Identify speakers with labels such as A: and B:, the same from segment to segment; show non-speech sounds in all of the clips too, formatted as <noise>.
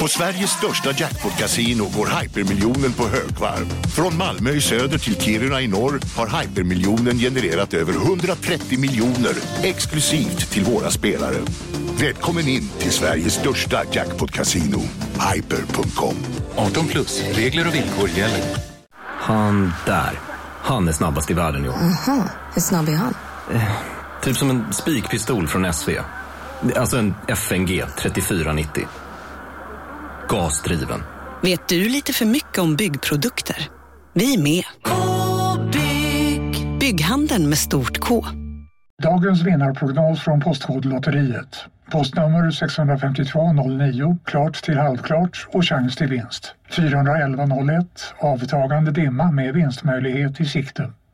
A: På Sveriges största jackpot-kasino går hypermiljonen på högvarv. Från Malmö i söder till Kiruna i norr har hypermiljonen genererat över 130 miljoner exklusivt till våra spelare. Välkommen in till Sveriges största jackpot-kasino, hyper.com.
B: 18 plus, regler och villkor gäller.
C: Han där, han är snabbast i världen jo.
D: Aha, hur snabb är han?
C: Typ som en spikpistol från SV. Alltså en FNG 3490. Gasdriven.
E: Vet du lite för mycket om byggprodukter? Vi är med. -bygg. Bygghandeln med stort K.
F: Dagens vinnarprognos från Postkodlotteriet. Postnummer 65209, klart till halvklart och chans till vinst. 41101, avtagande dimma med vinstmöjlighet i sikte.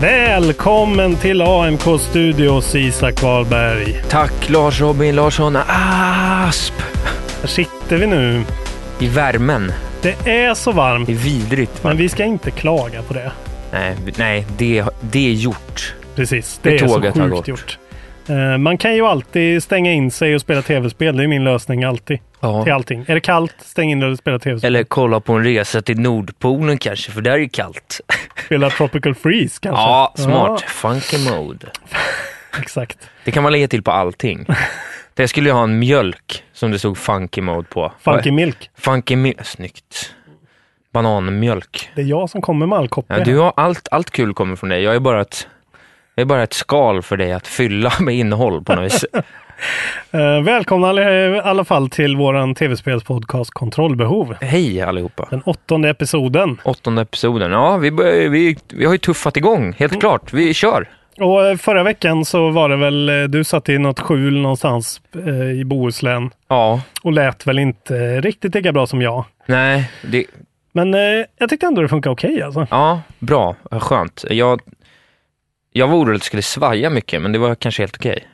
G: Välkommen till AMK Studios Isak Wahlberg.
H: Tack Lars Robin Larsson Asp!
G: Här sitter vi nu.
H: I värmen.
G: Det är så
H: Det är
G: varmt,
H: vidrigt.
G: men vi ska inte klaga på det.
H: Nej, nej det, det är gjort.
G: Precis,
H: Det
G: det, är så
H: tåget har
G: sjukt
H: gått.
G: gjort. Eh, Man kan ju alltid stänga in sig och spela tv-spel. Det är min lösning alltid. Till
H: Ja.
G: allting. Är det kallt, stäng in dig och spela tv-spel.
H: Eller kolla på en resa till Nordpolen kanske, för där är det kallt.
G: <laughs> Spela Tropical Freeze kanske.
H: Alltså. Ja, smart. Funky mode.
G: Ja, exakt.
H: Det kan man lägga till på <laughs> allting. Det skulle jag ha en mjölk som det stod funky mode på.
G: Funky Milk.
H: funky mjölk. Snyggt. Bananmjölk.
G: Det är jag som kommer med all koppling.
H: Ja, du har allt, allt kul kommer från dig. Jag är bara ett, jag är bara ett skal för dig att fylla <laughs> med innehåll på något <laughs> vis.
G: Eh, Välkomna all- i alla fall till våran tv-spelspodcast Kontrollbehov.
H: Hej allihopa.
G: Den åttonde episoden.
H: Åttonde episoden. Ja, vi, börjar- vi, vi har ju tuffat igång, helt klart. Vi kör.
G: Och eh, förra veckan så var det väl, eh, du satt i något skjul någonstans eh, i Bohuslän
H: Ja,
G: och lät väl inte eh, riktigt lika bra som jag.
H: nej, det,
G: Men eh, jag tyckte ändå det funkar okej alltså.
H: ja, bra, skönt. Jag, jag var orolig att det skulle svaja mycket, men det var kanske helt okej.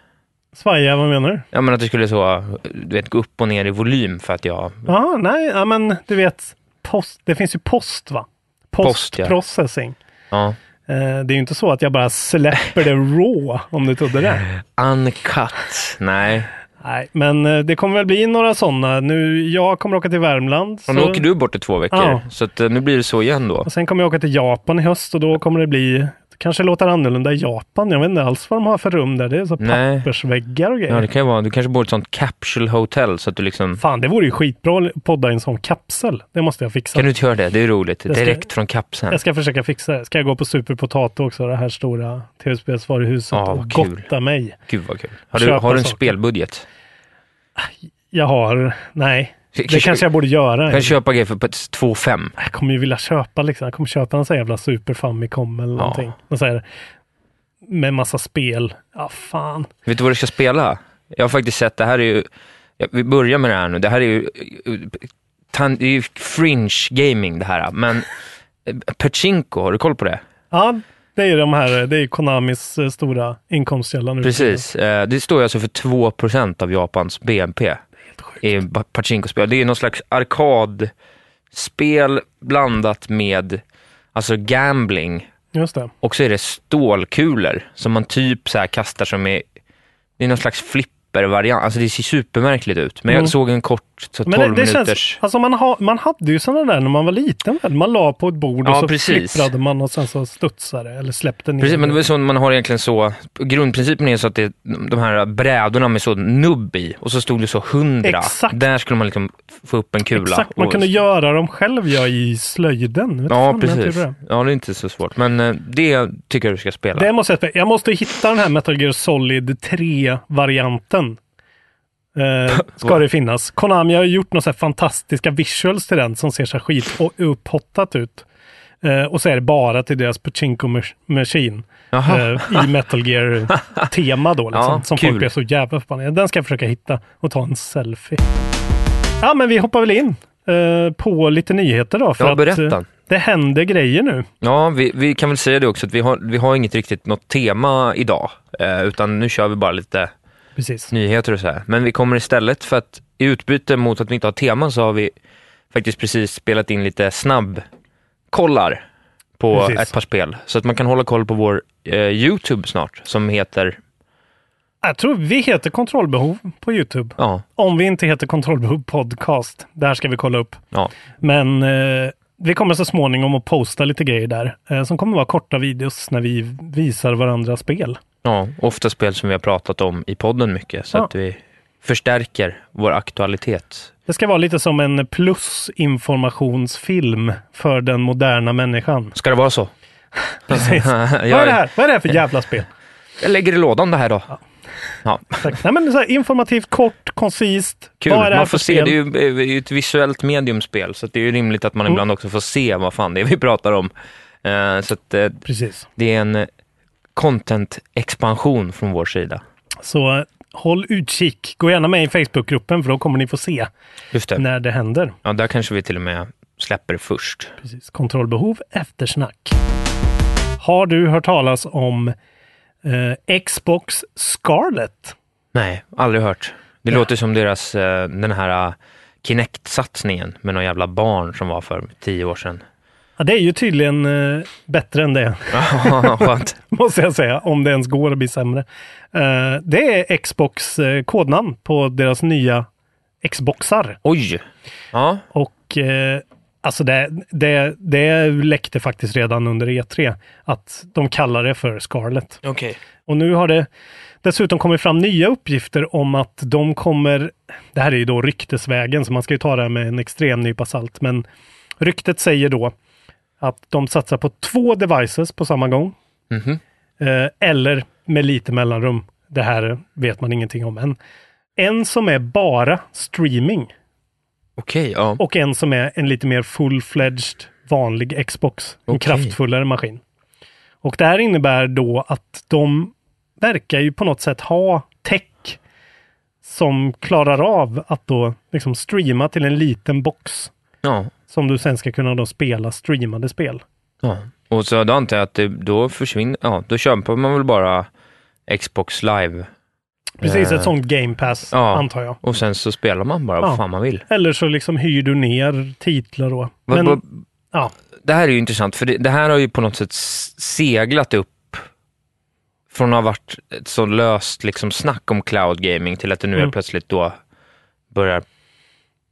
G: Svaja, vad menar du?
H: Ja, men att det skulle så, du vet, gå upp och ner i volym för att jag...
G: Ja, nej, ja, men du vet, post, det finns ju post va?
H: Post, ja.
G: Postprocessing.
H: Ja.
G: Eh, det är ju inte så att jag bara släpper det raw, om du trodde det.
H: Uncut. Nej.
G: Nej, men eh, det kommer väl bli några sådana. Nu, jag kommer åka till Värmland.
H: Och nu
G: så-
H: åker du bort i två veckor,
G: Ja.
H: så att, eh, nu blir det så igen då.
G: Och sen kommer jag åka till Japan i höst och då kommer det bli, kanske låter annorlunda i Japan. Jag vet inte alls vad de har för rum där. Det är så
H: Nej.
G: pappersväggar och
H: Ja,
G: grejer.
H: det kan ju vara, du kanske bor i ett sånt capsule hotel, så att du liksom...
G: Fan, det vore ju skitbra att podda i en sån kapsel. Det måste jag fixa.
H: Kan du inte göra det? Det är roligt.
G: ska-
H: Direkt från kapseln.
G: Jag ska försöka fixa det. Ska jag gå på Superpotato också, det här stora tv-spelsvaruhuset
H: Ja,
G: och
H: vad kul.
G: gotta mig.
H: Gud vad kul. Har du,
G: Köpa
H: har du en
G: saker.
H: spelbudget?
G: Jag har, nej,
H: Ska-
G: det kanske jag borde göra.
H: Kan jag köpa grejer för på ett 2,5?
G: Jag kommer ju vilja köpa liksom. Jag kommer köpa en sån jävla Super Famicom eller någonting. Och så här, med massa spel. Ja, fan.
H: Vet du vad du ska spela? Jag har faktiskt sett, det här är ju... ja, Vi börjar med det här nu. Det här är ju... Tan, det är ju fringe gaming det här. Men eh, Pachinko, har du koll på det?
G: Ja, det är ju de här, det är ju Konamis eh, stora inkomstkälla nu.
H: Precis. Eh, Det står ju alltså för 2% av Japans BNP. I pa- Pachinko-spel. Det är någon slags arkadspel blandat med alltså gambling.
G: Just det.
H: Och så är det stålkulor som man typ så här kastar som är... Det är någon slags flippervariant. Alltså det ser supermärkligt ut. Men jag
G: Mm.
H: såg en kort, så 12
G: Men det, det
H: minuters...
G: känns, alltså man, ha, man hade ju sådana där när man var liten väl? Man la på ett bord och
H: Ja,
G: så
H: precis.
G: flipprade man och sen så studsade det, eller släppte ner.
H: Precis, men det
G: det.
H: är så man har egentligen så... Grundprincipen är så att det är de här brädorna med så nubb i och så stod det så 100.
G: Exakt.
H: Där skulle man liksom få upp en kula.
G: Exakt, man
H: och,
G: kunde göra dem själv ja, i slöjden. Vet
H: Ja,
G: fan, jag
H: precis.
G: tror Det.
H: Ja, det är inte så svårt. Men eh, det tycker jag du ska spela.
G: det måste jag, spela. jag måste hitta den här Metal Gear Solid 3-varianten.
H: <laughs>
G: Eh, ska det finnas. Konami har ju gjort några så här fantastiska visuals till den som ser så här skit och upphottat ut. Eh, och så är det bara till deras Pachinko Mach- Machine.
H: Jaha.
G: eh, i
H: <laughs>
G: Metal Gear-tema då. Liksom,
H: Ja,
G: som
H: kul.
G: folk blev så jävla förbannade. Den ska jag försöka hitta och ta en selfie. Ja, men vi hoppar väl in eh, på lite nyheter då. För
H: Ja,
G: att,
H: berätta.
G: eh, det händer grejer nu.
H: Ja, vi, vi kan väl säga det också att vi har, vi har inget riktigt något tema idag, eh, utan nu kör vi bara lite
G: Precis.
H: nyheter och så här. Men vi kommer istället för att i utbyte mot att vi inte har teman så har vi faktiskt precis spelat in lite snabbkollar på
G: Precis.
H: ett par spel. Så att man kan hålla koll på vår eh, YouTube snart som heter,
G: Jag tror vi heter Kontrollbehov på Youtube.
H: ja,
G: Om vi inte heter Kontrollbehov Podcast. Det här ska vi kolla upp.
H: ja,
G: Men eh, vi kommer så småningom att posta lite grejer där eh, som kommer vara korta videos när vi visar varandra spel.
H: ja, ofta spel som vi har pratat om i podden mycket så
G: Ja.
H: att vi förstärker vår aktualitet.
G: Det ska vara lite som en plusinformationsfilm för den
H: <laughs>
G: moderna människan.
H: Ska det vara så?
G: <laughs>
H: <laughs>
G: Precis. Vad är det här? Vad är det här för jävla spel?
H: Jag lägger i lådan det här då. Ja.
G: Tack. Nej, men så här, informativt, kort, koncist.
H: Kul,
G: Vad är det här
H: man
G: för
H: får se,
G: spel?
H: det är ju eh, det är ju ett visuellt mediumspel, så att det är ju rimligt att man
G: Mm.
H: ibland också får se vad fan det är vi pratar om. Eh, så att eh,
G: Precis.
H: det är en eh, content-expansion från vår sida.
G: Så eh, håll utkik. Gå gärna med i Facebookgruppen för då kommer ni få se
H: Just det,
G: när det händer.
H: ja, där kanske vi till och med släpper det först.
G: Precis. Kontrollbehov, eftersnack. Har du hört talas om eh, Xbox Scarlett?
H: Nej, aldrig hört. Det låter som deras, eh, den här eh, Kinect-satsningen med några jävla barn som var för tio år
G: <laughs>
H: sedan. <laughs>
G: Ja, det är ju tydligen eh, bättre än det, <laughs>
H: Skönt.
G: måste jag säga, om det ens går att bli sämre. Eh, det är Xbox eh, kodnamn på deras nya Xboxar.
H: Oj! Ja,
G: Och eh, alltså det, det, det läckte faktiskt redan under E3 att de kallar det för Scarlet.
H: okej.
G: Och nu har det dessutom kommit fram nya uppgifter om att de kommer, det här är ju då ryktesvägen så man ska ju ta det här med en extrem nypa salt, men ryktet säger då att de satsar på två devices på samma gång.
H: Mhm.
G: Eh, eller med lite mellanrum. Det här vet man ingenting om än. En som är bara streaming
H: Okej, ja.
G: och en som är en lite mer full-fledged vanlig Xbox. En
H: Okej.
G: kraftfullare maskin. Och det här innebär då att de verkar ju på något sätt ha tech som klarar av att då liksom streama till en liten box
H: ja.
G: som du sen ska kunna då spela streamade spel.
H: Ja, och så då antar jag att det, då försvinner, ja, då köper man väl bara Xbox live
G: Precis,
H: Eh.
G: ett sånt game pass
H: Ja.
G: antar jag.
H: och sen så spelar man bara
G: Ja.
H: vad fan man vill.
G: Eller så liksom hyr du ner titlar då.
H: Vad-
G: Men,
H: vad-
G: ja.
H: Det här är ju intressant, för det, det här har ju på något sätt s- seglat upp från att ha varit ett så löst liksom snack om cloud gaming till att det nu
G: Mm.
H: är plötsligt då börjar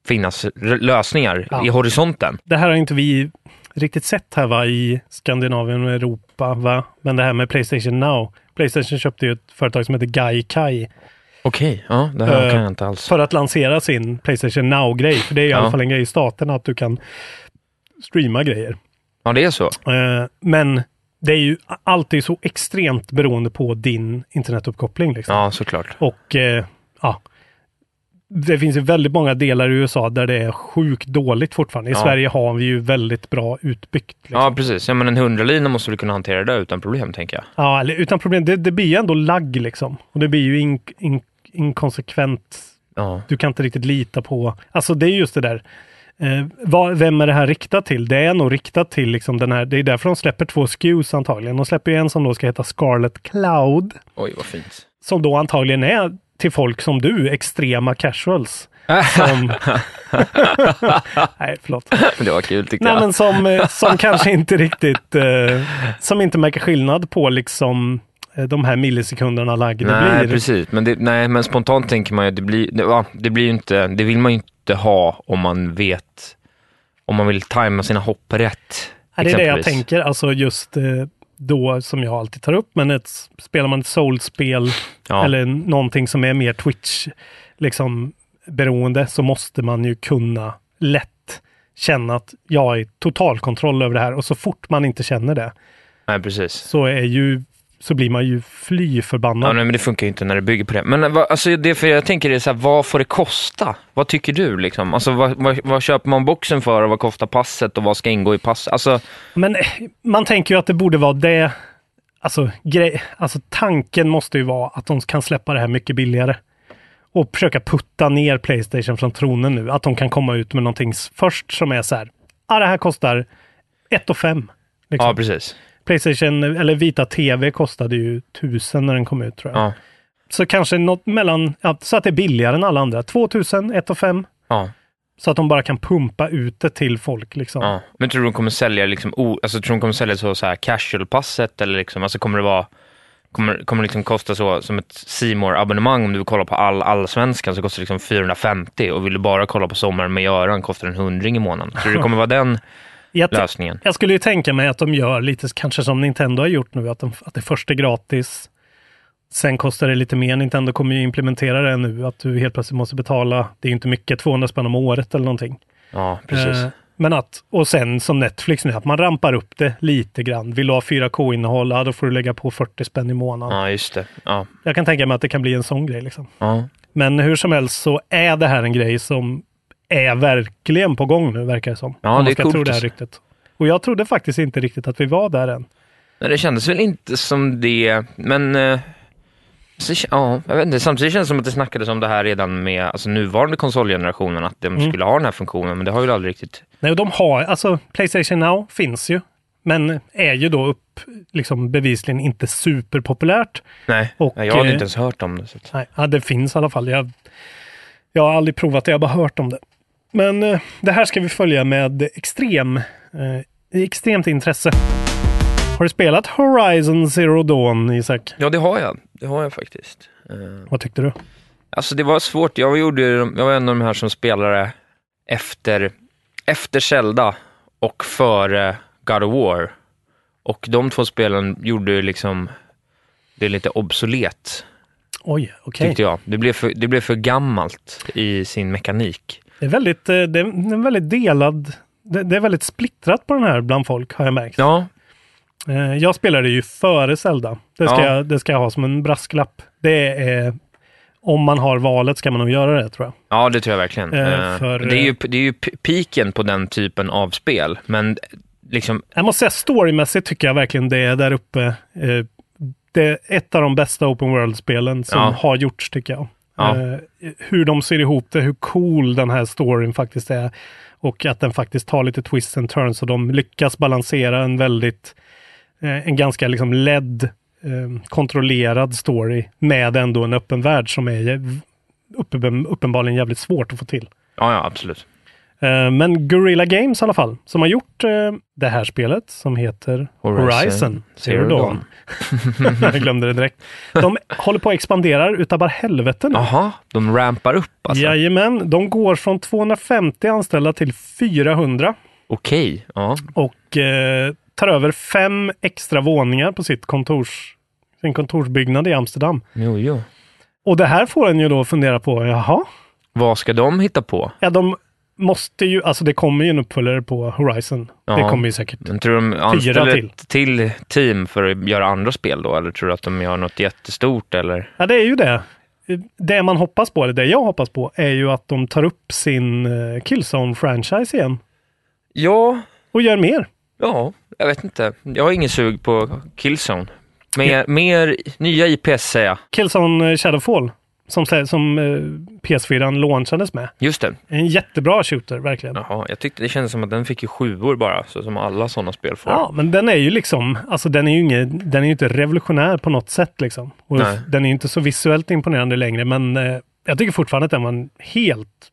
H: finnas r- lösningar
G: Ja.
H: i horisonten.
G: Det här har inte vi riktigt sett här va, i Skandinavien och Europa. Va? Men det här med Playstation Now. Playstation köpte ju ett företag som heter Gaikai
H: Okej, ja, det här
G: Eh,
H: kan jag inte alls.
G: för att lansera sin Playstation Now-grej. För det är i alla
H: Ja.
G: fall en grej i staten att du kan streama grejer.
H: Ja, det är så.
G: Eh, men det är ju alltid så extremt beroende på din internetuppkoppling. Liksom.
H: Ja, såklart.
G: Och eh, ja, det finns ju väldigt många delar i USA där det är sjukt dåligt fortfarande. I
H: Ja.
G: Sverige har vi ju väldigt bra utbyggt. Liksom.
H: Ja, precis. Ja, men en hundralina måste du kunna hantera det där utan problem, tänker jag.
G: Ja, eller utan problem. Det, det blir ju ändå lagg liksom. Och det blir ju in, in, inkonsekvent.
H: Ja.
G: Du kan inte riktigt lita på. Alltså det är just det där. Eh, vad, vem är det här riktat till? Det är nog riktat till liksom den här. Det är därför de släpper två SKUs antagligen. De släpper ju en som då ska heta Scarlet Cloud.
H: Oj, vad fint.
G: Som då antagligen är till folk som du, extrema casuals. Som... Nej, förlåt.
H: Det var kul tyckte
G: Nej,
H: jag.
G: men som, eh, som
H: <laughs>
G: kanske inte riktigt, eh, som inte märker skillnad på liksom eh, de här millisekunderna lagg det
H: nej,
G: blir.
H: precis. Men, det, nej, men spontant tänker man ju att det blir, det, ja, det blir ju inte, det vill man ju inte ha om man vet, om man vill tajma sina hopp rätt.
G: Ja, det är det jag
H: exempelvis.
G: tänker, alltså just eh, då som jag alltid tar upp, men ett, spelar man ett soulspel
H: Ja.
G: eller någonting som är mer Twitch liksom, beroende så måste man ju kunna lätt känna att jag är total kontroll över det här och så fort man inte känner det
H: Nej, precis.
G: så är ju så blir man ju fly förbannad.
H: Ja, nej, men det funkar ju inte när det bygger på det. Men eh, vad- alltså, det, för jag tänker det är så här, vad får det kosta? Vad tycker du liksom? Alltså, vad, vad, vad köper man boxen för och vad kostar passet och vad ska ingå i passet? Alltså,
G: Men eh, man tänker ju att det borde vara det. Alltså, grej, alltså tanken måste ju vara att de kan släppa det här mycket billigare. och försöka putta ner Playstation från tronen nu. Att de kan komma ut med någonting s- först som är så här. Ah, det här kostar 1 5. Liksom.
H: Ja, precis.
G: Playstation eller Vita TV kostade ju 1000 när den kom ut tror jag.
H: Ja.
G: Så kanske något mellan, ja, så att det är billigare än alla andra. 2000, 1 5.
H: Ja,
G: Så att de bara kan pumpa ut det till folk liksom.
H: ja. Men tror du de kommer sälja liksom, o, alltså tror du de kommer sälja så, så här casual-passet eller liksom, alltså kommer det vara, kommer, kommer det liksom kosta så som ett simor abonnemang om du vill kolla på all allsvenskan så kostar det liksom 450 och vill du bara kolla på sommaren med Göran kostar det en hundring i månaden. Tror du det kommer vara <laughs> den
G: Jag, t-
H: lösningen?
G: jag skulle ju tänka mig att de gör lite kanske som Nintendo har gjort nu, att, de, att det först är gratis. Sen kostar det lite mer. Nintendo kommer ju implementera det nu, att du helt plötsligt måste betala, det är ju inte mycket, 200 spänn om året eller någonting.
H: Ja, precis.
G: Eh, Men att, och sen som Netflix nu, att man rampar upp det lite grann. Vill du ha 4K-innehåll, ja, då får du lägga på 40 spänn i månaden.
H: Ja, just det. Ja,
G: Jag kan tänka mig att det kan bli en sån grej liksom.
H: ja.
G: Men hur som helst så är det här en grej som är verkligen på gång nu, verkar det som.
H: Ja,
G: Om
H: det
G: man
H: är
G: ska
H: coolt
G: tro det här
H: alltså.
G: ryktet. Och jag trodde faktiskt inte riktigt att vi var där än.
H: Nej, det kändes väl inte som det, men... eh, Så, ja, jag vet inte. Samtidigt känns det som att det snackades om det här redan med alltså, nuvarande konsolgenerationen, att de skulle ha den här funktionen, men det har ju aldrig riktigt...
G: Nej, och de har, alltså Playstation Now finns ju, men är ju då upp, liksom bevisligen inte superpopulärt.
H: Nej,
G: Och,
H: jag har
G: eh,
H: inte ens hört om det. Så att,
G: Nej, ja, det finns i alla fall. Jag, jag har aldrig provat det, jag har bara hört om det. Men eh, det här ska vi följa med extrem, eh, i extremt intresse. Har du spelat Horizon Zero Dawn, Isak?
H: ja, det har jag. Det har jag faktiskt. Eh,
G: Vad tyckte du?
H: Alltså det var svårt. Jag, gjorde, ju de- jag var en av de här som spelade efter, efter Zelda och före God of War. Och de två spelen gjorde ju liksom det lite obsolet,
G: Oj, okej.
H: tyckte jag. Det blev, för, det blev för gammalt i sin mekanik.
G: Det är väldigt, eh, det är en väldigt delad, det, det är väldigt splittrat på den här bland folk har jag märkt.
H: Ja,
G: Eh, Jag spelade ju före Zelda. Det ska,
H: Ja.
G: jag, det ska jag ha som en brasklapp. Det är, om man har valet ska man nog göra det tror jag.
H: ja det tror jag verkligen.
G: Eh,
H: Eh,
G: för,
H: det är ju,
G: eh,
H: det är ju p- piken på den typen av spel, men liksom,
G: Jag måste säga storymässigt tycker jag verkligen det är där uppe. Eh, Det är ett av de bästa open world-spelen som
H: Ja.
G: har gjorts tycker jag.
H: Ja.
G: Eh, Hur de syr ihop det, hur cool den här storyn faktiskt är och att den faktiskt tar lite twists and turns och de lyckas balansera en väldigt, eh, en ganska liksom ledd, eh, kontrollerad story med ändå en öppen värld som är jä- uppen- uppenbarligen jävligt svårt att få till.
H: ja, ja absolut.
G: Eh, Men Guerrilla Games i alla fall, som har gjort eh, det här spelet som heter Horizon,
H: Horizon
G: Zero
H: Zero
G: Dawn. <laughs> Jag glömde det direkt. De håller på att expandera utav bara helvete nu.
H: Jaha, de rampar upp alltså.
G: Jajamän, de går från 250 anställda till 400
H: Okej, ja.
G: och eh, tar över fem extra våningar på sitt kontors, sin kontorsbyggnad i Amsterdam.
H: Jo, jo.
G: Och det här får en ju då fundera på, jaha,
H: Vad ska de hitta på?
G: ja de måste ju, alltså det kommer ju en uppföljare på Horizon. Det
H: Ja.
G: kommer ju säkert.
H: Men tror du de anställer
G: till.
H: ett till team för att göra andra spel då? Eller tror du att de gör något jättestort? Eller?
G: Ja, det är ju det. Det man hoppas på, eller det jag hoppas på, är ju att de tar upp sin eh, Killzone-franchise igen
H: Ja,
G: och gör mer.
H: ja, jag vet inte. Jag har ingen sug på Killzone. Mer, mer nya IPS säger jag.
G: Killzone eh, Shadowfall, som, slä- som eh, PS4 launchades med.
H: Just det.
G: En jättebra shooter, verkligen. Ja.
H: Jaha, jag tyckte det kändes som att den fick ju sjuor bara, så som alla sådana spel får.
G: men den är ju liksom, alltså den är ju ingen, den är ju inte revolutionär på något sätt liksom. Och
H: Nej.
G: den är ju inte så visuellt imponerande längre, men eh, jag tycker fortfarande att den var en helt,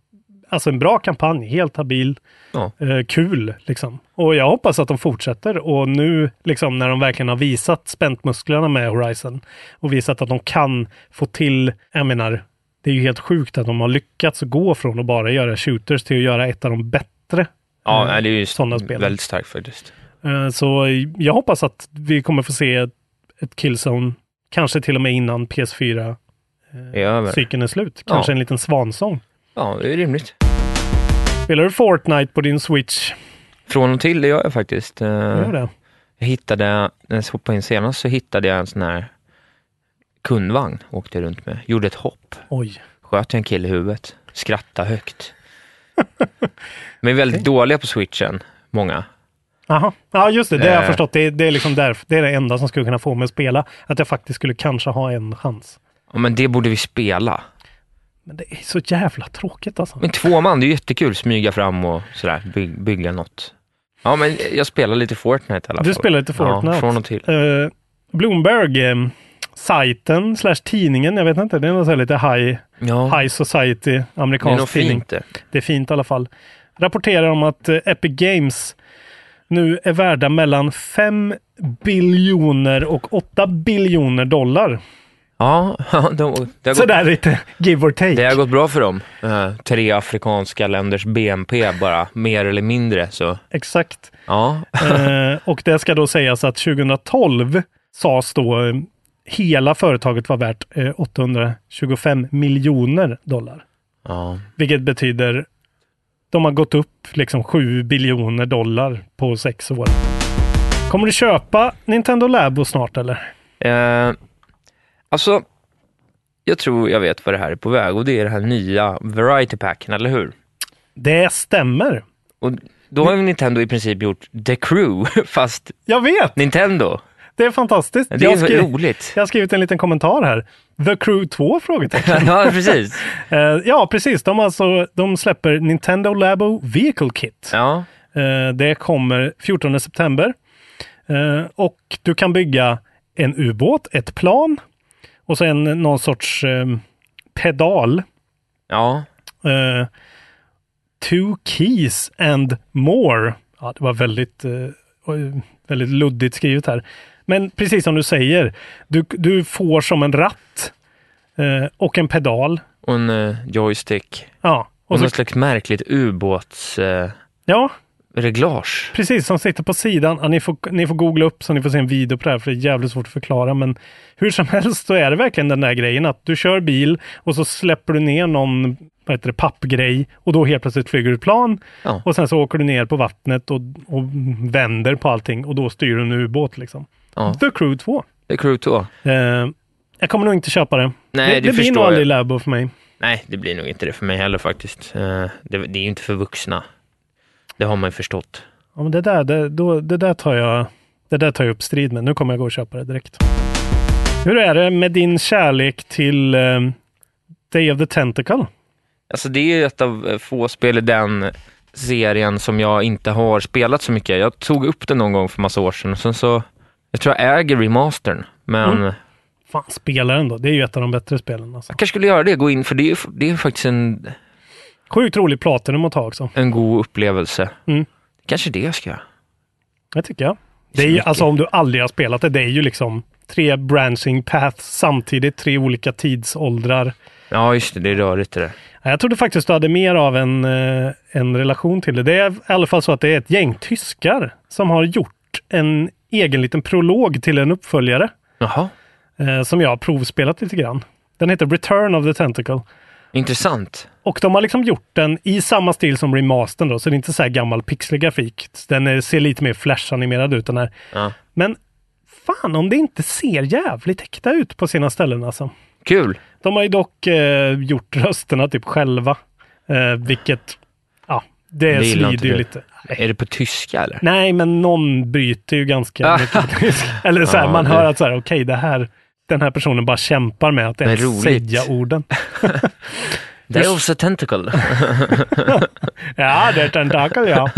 G: alltså en bra kampanj, helt habil.
H: Ja.
G: eh, kul liksom. Och jag hoppas att de fortsätter och nu liksom när de verkligen har visat spänt musklerna med Horizon och visat att de kan få till, jag menar, det är ju helt sjukt att de har lyckats gå från att bara göra shooters till att göra ett av de bättre.
H: ja
G: eh,
H: nej, det är ju
G: sådana spel.
H: väldigt starkt faktiskt.
G: Eh, Så jag hoppas att vi kommer få se ett- ett Killzone, kanske till och med innan PS4-cykeln
H: Det är över.
G: är slut. Kanske
H: Ja.
G: en liten svansång.
H: Ja, det är rimligt.
G: Spelar du Fortnite på din Switch?
H: Från och till, det gör jag faktiskt. Eh,
G: Gör det.
H: Jag hittade, när jag hoppade in senast så hittade jag en sån här kundvagn, åkte runt med, gjorde ett hopp,
G: Oj.
H: sköt en kille i huvudet, skrattade
G: <laughs>
H: högt. Men är väldigt dåliga på switchen, många.
G: Jaha, ja just det, det har jag
H: Eh.
G: förstått. Det, är- det är liksom därför, det är det enda som skulle kunna få mig att spela. Att jag faktiskt skulle kanske ha en chans.
H: Ja, men det borde vi spela.
G: Men det är så jävla tråkigt alltså.
H: Men två man, det är ju jättekul. Smyga fram och sådär, by, bygga något. Ja, men jag spelar lite Fortnite i alla fall.
G: Du spelar lite Fortnite.
H: Ja, från och till.
G: Eh, Bloomberg, eh, sajten slash tidningen, jag vet inte, det är någon så här lite high,
H: Ja,
G: high society
H: det är nog
G: amerikansk tidning.
H: fint det.
G: Det är fint i alla fall. Rapporterar om att eh, Epic Games nu är värda mellan 5 biljoner och 8 biljoner dollar.
H: Ja, <laughs> ja, de, det, har gått,
G: Sådär lite give or take.
H: det har gått bra för dem. Eh, tre afrikanska länders BNP bara, mer eller mindre. Så
G: Exakt.
H: ja,
G: Eh, och det ska då sägas att 2012 sades då eh, hela företaget var värt eh, 825 miljoner dollar.
H: ja.
G: Vilket betyder de har gått upp liksom 7 biljoner dollar på sex år. Kommer du köpa Nintendo Labo snart eller?
H: Eh, alltså, jag tror jag vet vad det här är på väg och det är det här nya Variety Packen, eller hur?
G: Det stämmer.
H: Och då har ju Nintendo i princip gjort The Crew, <laughs> fast
G: Jag vet!
H: Nintendo.
G: Det är fantastiskt.
H: Det
G: jag,
H: är
G: har
H: så
G: skrivit,
H: roligt.
G: jag har skrivit en liten kommentar här. The Crew 2?
H: <laughs>
G: Frågetecken.
H: ja, precis.
G: Eh, ja, precis. De, alltså, de släpper Nintendo Labo Vehicle Kit.
H: Ja,
G: Eh, Det kommer 14 september. Eh, Och du kan bygga en ubåt, ett plan och sen någon sorts eh, pedal.
H: ja.
G: Eh, Two keys and more. Ja, det var väldigt, eh, oj, väldigt luddigt skrivet här. Men precis som du säger, du, du får som en ratt eh, och en pedal.
H: Och en eh, joystick.
G: Ja,
H: Och
G: och så,
H: något slags märkligt ubåtsreglage. Eh,
G: ja,
H: reglage.
G: Precis, som sitter på sidan. Ja, ni, får, ni får googla upp så ni får se en video på det här, för det är jävligt svårt att förklara. Men hur som <laughs> helst så är det verkligen den där grejen att du kör bil och så släpper du ner någon vad heter det, pappgrej och då helt plötsligt flyger du ett plan.
H: Ja.
G: Och sen så åker du ner på vattnet och, och vänder på allting och då styr du en ubåt. Liksom.
H: Ja.
G: The Crew 2.
H: The Crew 2.
G: Eh, jag kommer nog inte köpa det.
H: Nej,
G: det,
H: det
G: det blir
H: förstår
G: nog
H: jag.
G: aldrig Labo för mig.
H: Nej, det blir nog inte det för mig heller faktiskt. Eh, det, det är ju inte för vuxna. Det har man ju förstått.
G: Ja, men det, där, det, då, det, där tar jag, det där tar jag upp strid med. Nu kommer jag gå och köpa det direkt. Hur är det med din kärlek till eh, Day of the Tentacle?
H: Alltså det är ju ett av eh, få spel i den serien som jag inte har spelat så mycket. Jag tog upp den någon gång för massa år sedan och sen så, jag tror jag äger remastern, men
G: Fan, spela den då. Det är ju ett av de bättre spelen. Alltså.
H: jag kanske skulle göra det, gå in, för det är, ju f- det är faktiskt en,
G: Sjukt rolig platinum att ta också.
H: en god upplevelse.
G: Mm.
H: Kanske det jag ska göra.
G: Det tycker jag. Det är ju,
H: mycket.
G: alltså om du aldrig har spelat det, det är ju liksom tre branching paths samtidigt, tre olika tidsåldrar.
H: Ja, just det, det är rörigt det där.
G: Ja, Jag trodde faktiskt du hade mer av en, eh, en relation till det. Det är i alla fall så att det är ett gäng tyskar som har gjort en egen liten prolog till en uppföljare
H: Jaha,
G: eh, som jag har provspelat lite grann. Den heter Return of the Tentacle.
H: intressant.
G: Och de har liksom gjort den i samma stil som remastern då, så det är inte så här gammal pixlig grafik. Den är, ser lite mer flashanimerad ut den här.
H: Ja.
G: Men fan om det inte ser jävligt äkta ut på sina ställen alltså.
H: Kul.
G: De har ju dock eh, gjort rösterna typ själva, eh, vilket ja, det,
H: Det gillar
G: svider
H: inte
G: ju
H: du.
G: lite.
H: Är det på tyska eller?
G: Nej, men någon bryter ju ganska mycket. <laughs> Eller så här,
H: Ah. Ja,
G: man
H: det-
G: hör att så här, okej, det här, den här personen bara kämpar med att ens
H: roligt.
G: säga orden. <laughs>
H: Det är också Tentacle.
G: Ja, det är
H: <laughs>
G: tentakel, ja.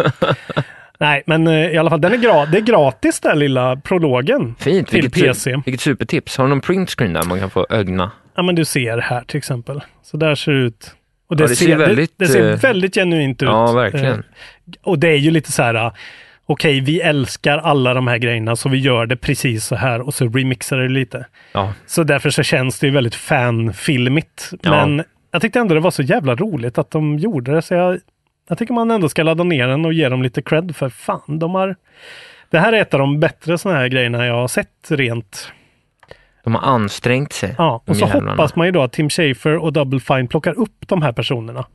G: Nej, men eh, i alla fall, den är gra- det är gratis den lilla prologen.
H: Fint,
G: Till
H: vilket, su-
G: PC.
H: vilket supertips. Har du någon printscreen där man kan få ögna?
G: Ja, men du ser här till exempel. Så där ser det ut. Och
H: Ja, det ser väldigt,
G: det, det ser
H: eh,
G: väldigt genuint ut.
H: Ja, verkligen.
G: Eh, Och det är ju lite så här, ah, okej, vi älskar alla de här grejerna så vi gör det precis så här och så remixar det lite.
H: Ja,
G: Så därför så känns det ju väldigt fanfilmigt.
H: Ja.
G: Men jag tyckte ändå det var så jävla roligt att de gjorde det, så jag, jag tycker man ändå ska ladda ner den och ge dem lite cred för fan, de har... Det här är ett av de bättre sådana här grejerna jag har sett rent.
H: de har ansträngt sig.
G: Ja,
H: de
G: och så
H: jävlarna.
G: hoppas man ju då att Tim Schafer och Double Fine plockar upp de här personerna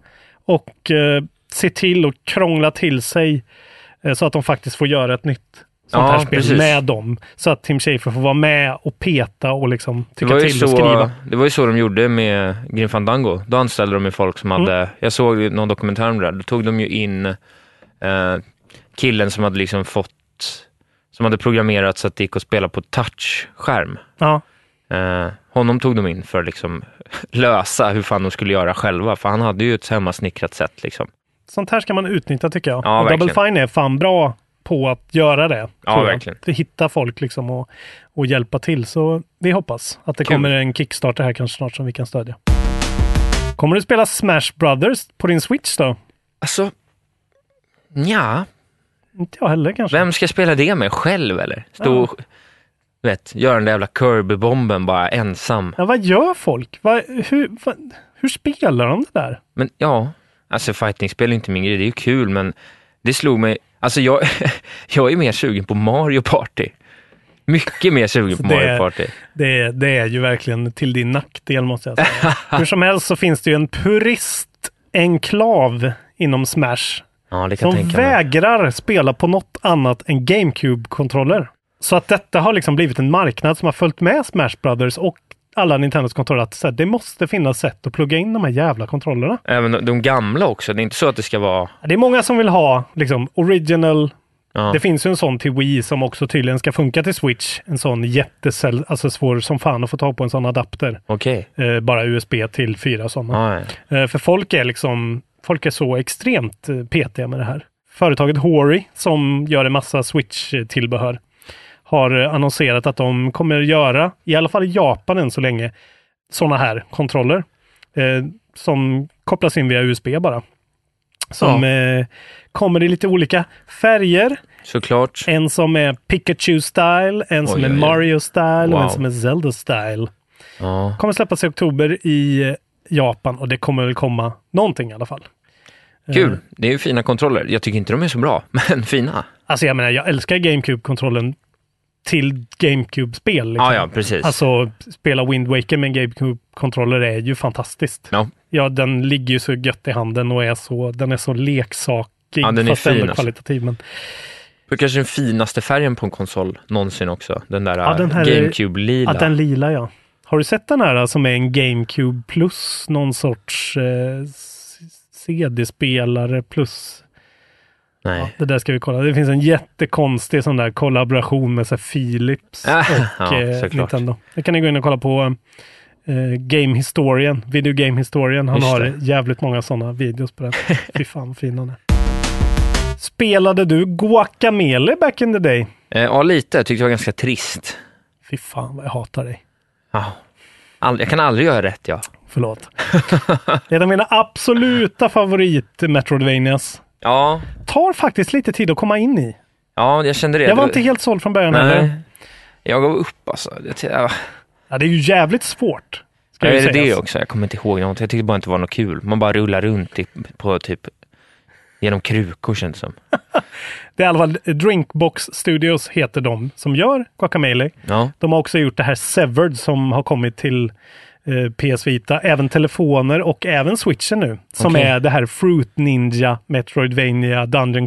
G: och eh, ser till att krångla till sig eh, så att de faktiskt får göra ett nytt sånt
H: Ja,
G: här spel
H: precis.
G: med dem. Så att Tim Schafer får vara med och peta och liksom
H: Det
G: tycka
H: var, ju
G: till och
H: så, eh,
G: skriva.
H: det var ju så de gjorde med Grim Fandango. Då anställde de ju folk som
G: Mm.
H: hade, jag såg ju någon dokumentär om det där, då tog de ju in eh, killen som hade liksom fått, som hade programmerat så att det gick att spela på touchskärm.
G: Ja.
H: Eh, Eh, honom tog de in för att liksom <laughs> lösa hur fan de skulle göra själva, för han hade ju ett hemmasnickrat sätt. Liksom.
G: Sånt här ska man utnyttja tycker jag.
H: Ja,
G: och Double
H: verkligen.
G: Fine är fan bra på att göra det.
H: Ja,
G: tror jag.
H: verkligen.
G: Att Hitta folk liksom och, och hjälpa till. Så vi hoppas att det
H: Kul.
G: kommer en Kickstarter här kanske snart som vi kan stödja. Kommer du spela Smash Brothers på din Switch då?
H: Alltså, ja,
G: Inte jag heller kanske.
H: vem ska spela det med? Själv eller? Stå och, vet, göra den där jävla Kirby-bomben bara ensam.
G: Ja, vad gör folk? Vad, hur, vad, hur spelar de det där?
H: Men ja, alltså fightingspel är inte min grej, det är ju kul, men det slog mig, alltså jag, <laughs> jag är mer sugen på Mario Party. Mycket mer sugen på
G: det-
H: Mario Party.
G: Det, är- det är ju verkligen till din nackdel måste
H: <laughs>
G: jag säga. Hur som helst så finns det ju en puristenklav inom Smash
H: Ja, det kan jag
G: som
H: tänka mig.
G: vägrar spela på något annat än GameCube-kontroller. Så att detta har liksom blivit en marknad som har följt med Smash Brothers och alla Nintendos kontroller att så här, det måste finnas sätt att plugga in de här jävla kontrollerna.
H: Även de- de gamla också, det är inte så att det ska vara,
G: Det är många som vill ha liksom original.
H: Ja.
G: Det finns ju en sån till Wii som också tydligen ska funka till Switch. En sån jättecell, alltså svår som fan att få tag på en sån adapter.
H: okej.
G: Eh, bara USB till fyra sådana.
H: Ja, ja.
G: Eh, För folk är liksom, folk är så extremt eh, petiga med det här. Företaget Hori som gör en massa Switch-tillbehör har eh, annonserat att de kommer göra, i alla fall i Japan än så länge, sådana här kontroller. Eh, som kopplas in via USB bara. Som eh, kommer i lite olika färger.
H: Såklart.
G: En som är Pikachu-style, en som
H: Oj,
G: är
H: oj, oj.
G: Mario-style och
H: Wow.
G: en som är Zelda-style
H: Ja.
G: kommer släppas i oktober i eh, Japan och det kommer väl komma någonting i alla fall. Eh.
H: Kul, det är ju fina kontroller. Jag tycker inte de är så bra, <laughs> men fina.
G: Alltså jag menar, jag älskar GameCube-kontrollen till GameCube-spel. Liksom.
H: Ah, Ja, ja, precis.
G: Alltså, spela Wind Waker med en GameCube-kontroller är ju fantastiskt.
H: Ja.
G: Ja, den ligger ju så gött i handen och är så, den är så leksakig.
H: Ja, den är
G: fast
H: fin,
G: ändå
H: alltså.
G: kvalitativ. Men
H: Det är kanske den finaste färgen på en konsol någonsin också. Den där
G: Ja, den här-
H: GameCube-lila.
G: Att den lila, ja. Har du sett den här eh, som är en GameCube plus någon sorts eh, s- CD-spelare plus
H: Nej.
G: Det där ska vi kolla. Det finns en jättekonstig sån där kollaboration med så här Philips
H: Ah,
G: och
H: ja,
G: eh,
H: såklart.
G: Nintendo. Det kan ni gå in och kolla på eh, Game Historien, Video Game Historien. Han
H: Just
G: har
H: det.
G: jävligt många sådana videos på det. Fy fan vad fin han är. Spelade du Guacamele back in the day?
H: Eh, ja, lite. Jag tyckte det var ganska trist.
G: Fy fan vad jag hatar dig.
H: Ja. All, jag kan aldrig göra rätt, ja. <laughs>
G: Förlåt. Det är en av mina absoluta favorit Metroidvanias.
H: Ja,
G: Tar faktiskt lite tid att komma in i.
H: ja jag kände det.
G: Jag var
H: Det-
G: inte helt såld från början heller.
H: Nej. Jag gav upp alltså. Jag ty- ja.
G: Ja, det är ju jävligt svårt. Ska
H: Ja,
G: ju
H: är det det
G: sägas.
H: också? Jag kommer inte ihåg något. Jag tyckte bara inte det var något kul. Man bara rullar runt i, på typ genom krukor känns det som.
G: Det är i alla fall eh, Drinkbox Studios heter de som gör Guacamele.
H: Ja,
G: De har också gjort det här Severed som har kommit till eh, PS Vita, även telefoner och även switchen nu. Som
H: Okej.
G: är det här Fruit Ninja Metroidvania Dungeon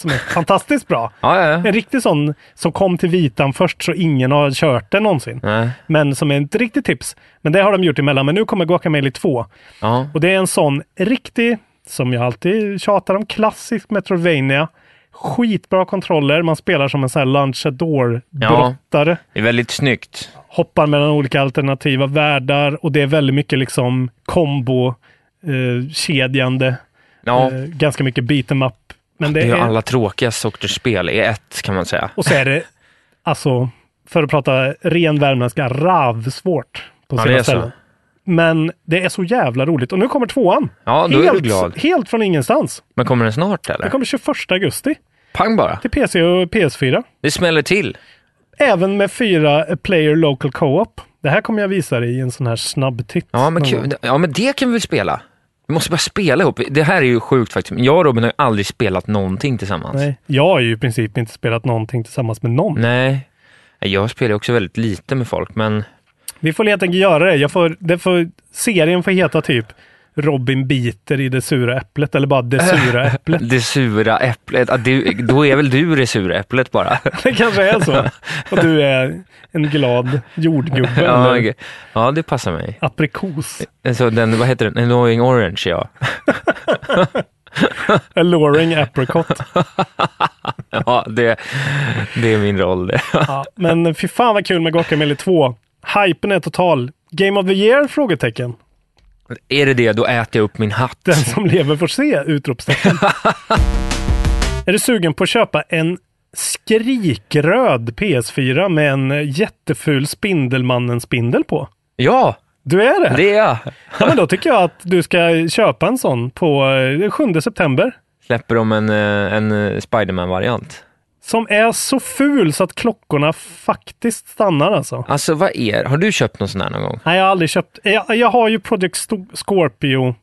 H: <laughs>
G: som är fantastiskt bra.
H: ja, ja. ja.
G: En riktig sån som kom till vitan först så ingen har kört den någonsin.
H: Nej.
G: Men som är ett riktigt tips. Men det har de gjort emellan. Men nu kommer Guacamele 2.
H: ja.
G: Och det är en sån riktig, som jag alltid tjatar om, klassisk Metroidvania. Skitbra kontroller. Man spelar som en sån här Lunchador-brottare.
H: Det är väldigt snyggt.
G: Hoppar mellan olika alternativa världar och det är väldigt mycket liksom kombo, eh, kedjande,
H: Ja,
G: eh, ganska mycket beat'em up. Men det
H: det är ju
G: är,
H: alla tråkiga sorters spel i ett kan man säga.
G: och så är det, alltså, för att prata ren värmländska, ravsvårt på
H: Ja,
G: sina
H: det är
G: ställen.
H: så.
G: Men det är så jävla roligt. Och nu kommer tvåan.
H: Ja, då är
G: helt,
H: du glad.
G: helt från ingenstans.
H: Men kommer den snart eller?
G: Det kommer 21 augusti
H: Pang bara.
G: till PC och PS4.
H: Det smäller till.
G: Även med fyra player local co-op. Det här kommer jag visa dig i en sån här snabbtitt.
H: Ja men,
G: någon gång.
H: kul. Mm. ja, men det kan vi väl spela? Vi måste bara spela ihop. Det här är ju sjukt faktiskt. Jag och Robin har ju aldrig spelat någonting tillsammans.
G: Nej, jag har ju i princip inte spelat någonting tillsammans med någon.
H: Nej. Jag spelar ju också väldigt lite med folk, men
G: Vi får helt enkelt göra det. Jag får, det får. Serien får heta typ Robin biter i det sura äpplet eller bara det
H: <laughs>
G: sura äpplet.
H: det sura äpplet, ja, du, då är väl du det sura äpplet bara? <laughs>
G: Det kanske är så. Och du är en glad jordgubbe.
H: Ja,
G: eller
H: okej. ja det passar mig.
G: aprikos.
H: Så den, vad heter den, Annoying Orange ja. <laughs>
G: Alluring apricot.
H: Ja, det, det är min roll <laughs> det.
G: Ja, men fy fan vad kul med Guacamele 2. Hypen är total. Game of the year? Frågetecken.
H: Är det det, då äter jag upp min hatt.
G: <laughs> Den som lever får se! <laughs> Utropstecken. är du sugen på att köpa en skrikröd PS4 med en jätteful Spindelmannen-spindel på?
H: Ja,
G: Du är det?
H: det är jag.
G: Ja, men då tycker jag att du ska köpa en sån på eh, 7 september.
H: Släpper de en, eh, en eh, Spiderman-variant.
G: Som är så ful så att klockorna faktiskt stannar alltså.
H: Alltså vad är Har du köpt någon sån här någon gång?
G: Nej, jag har aldrig köpt. Jag, jag har ju Project Sto- Scorpio,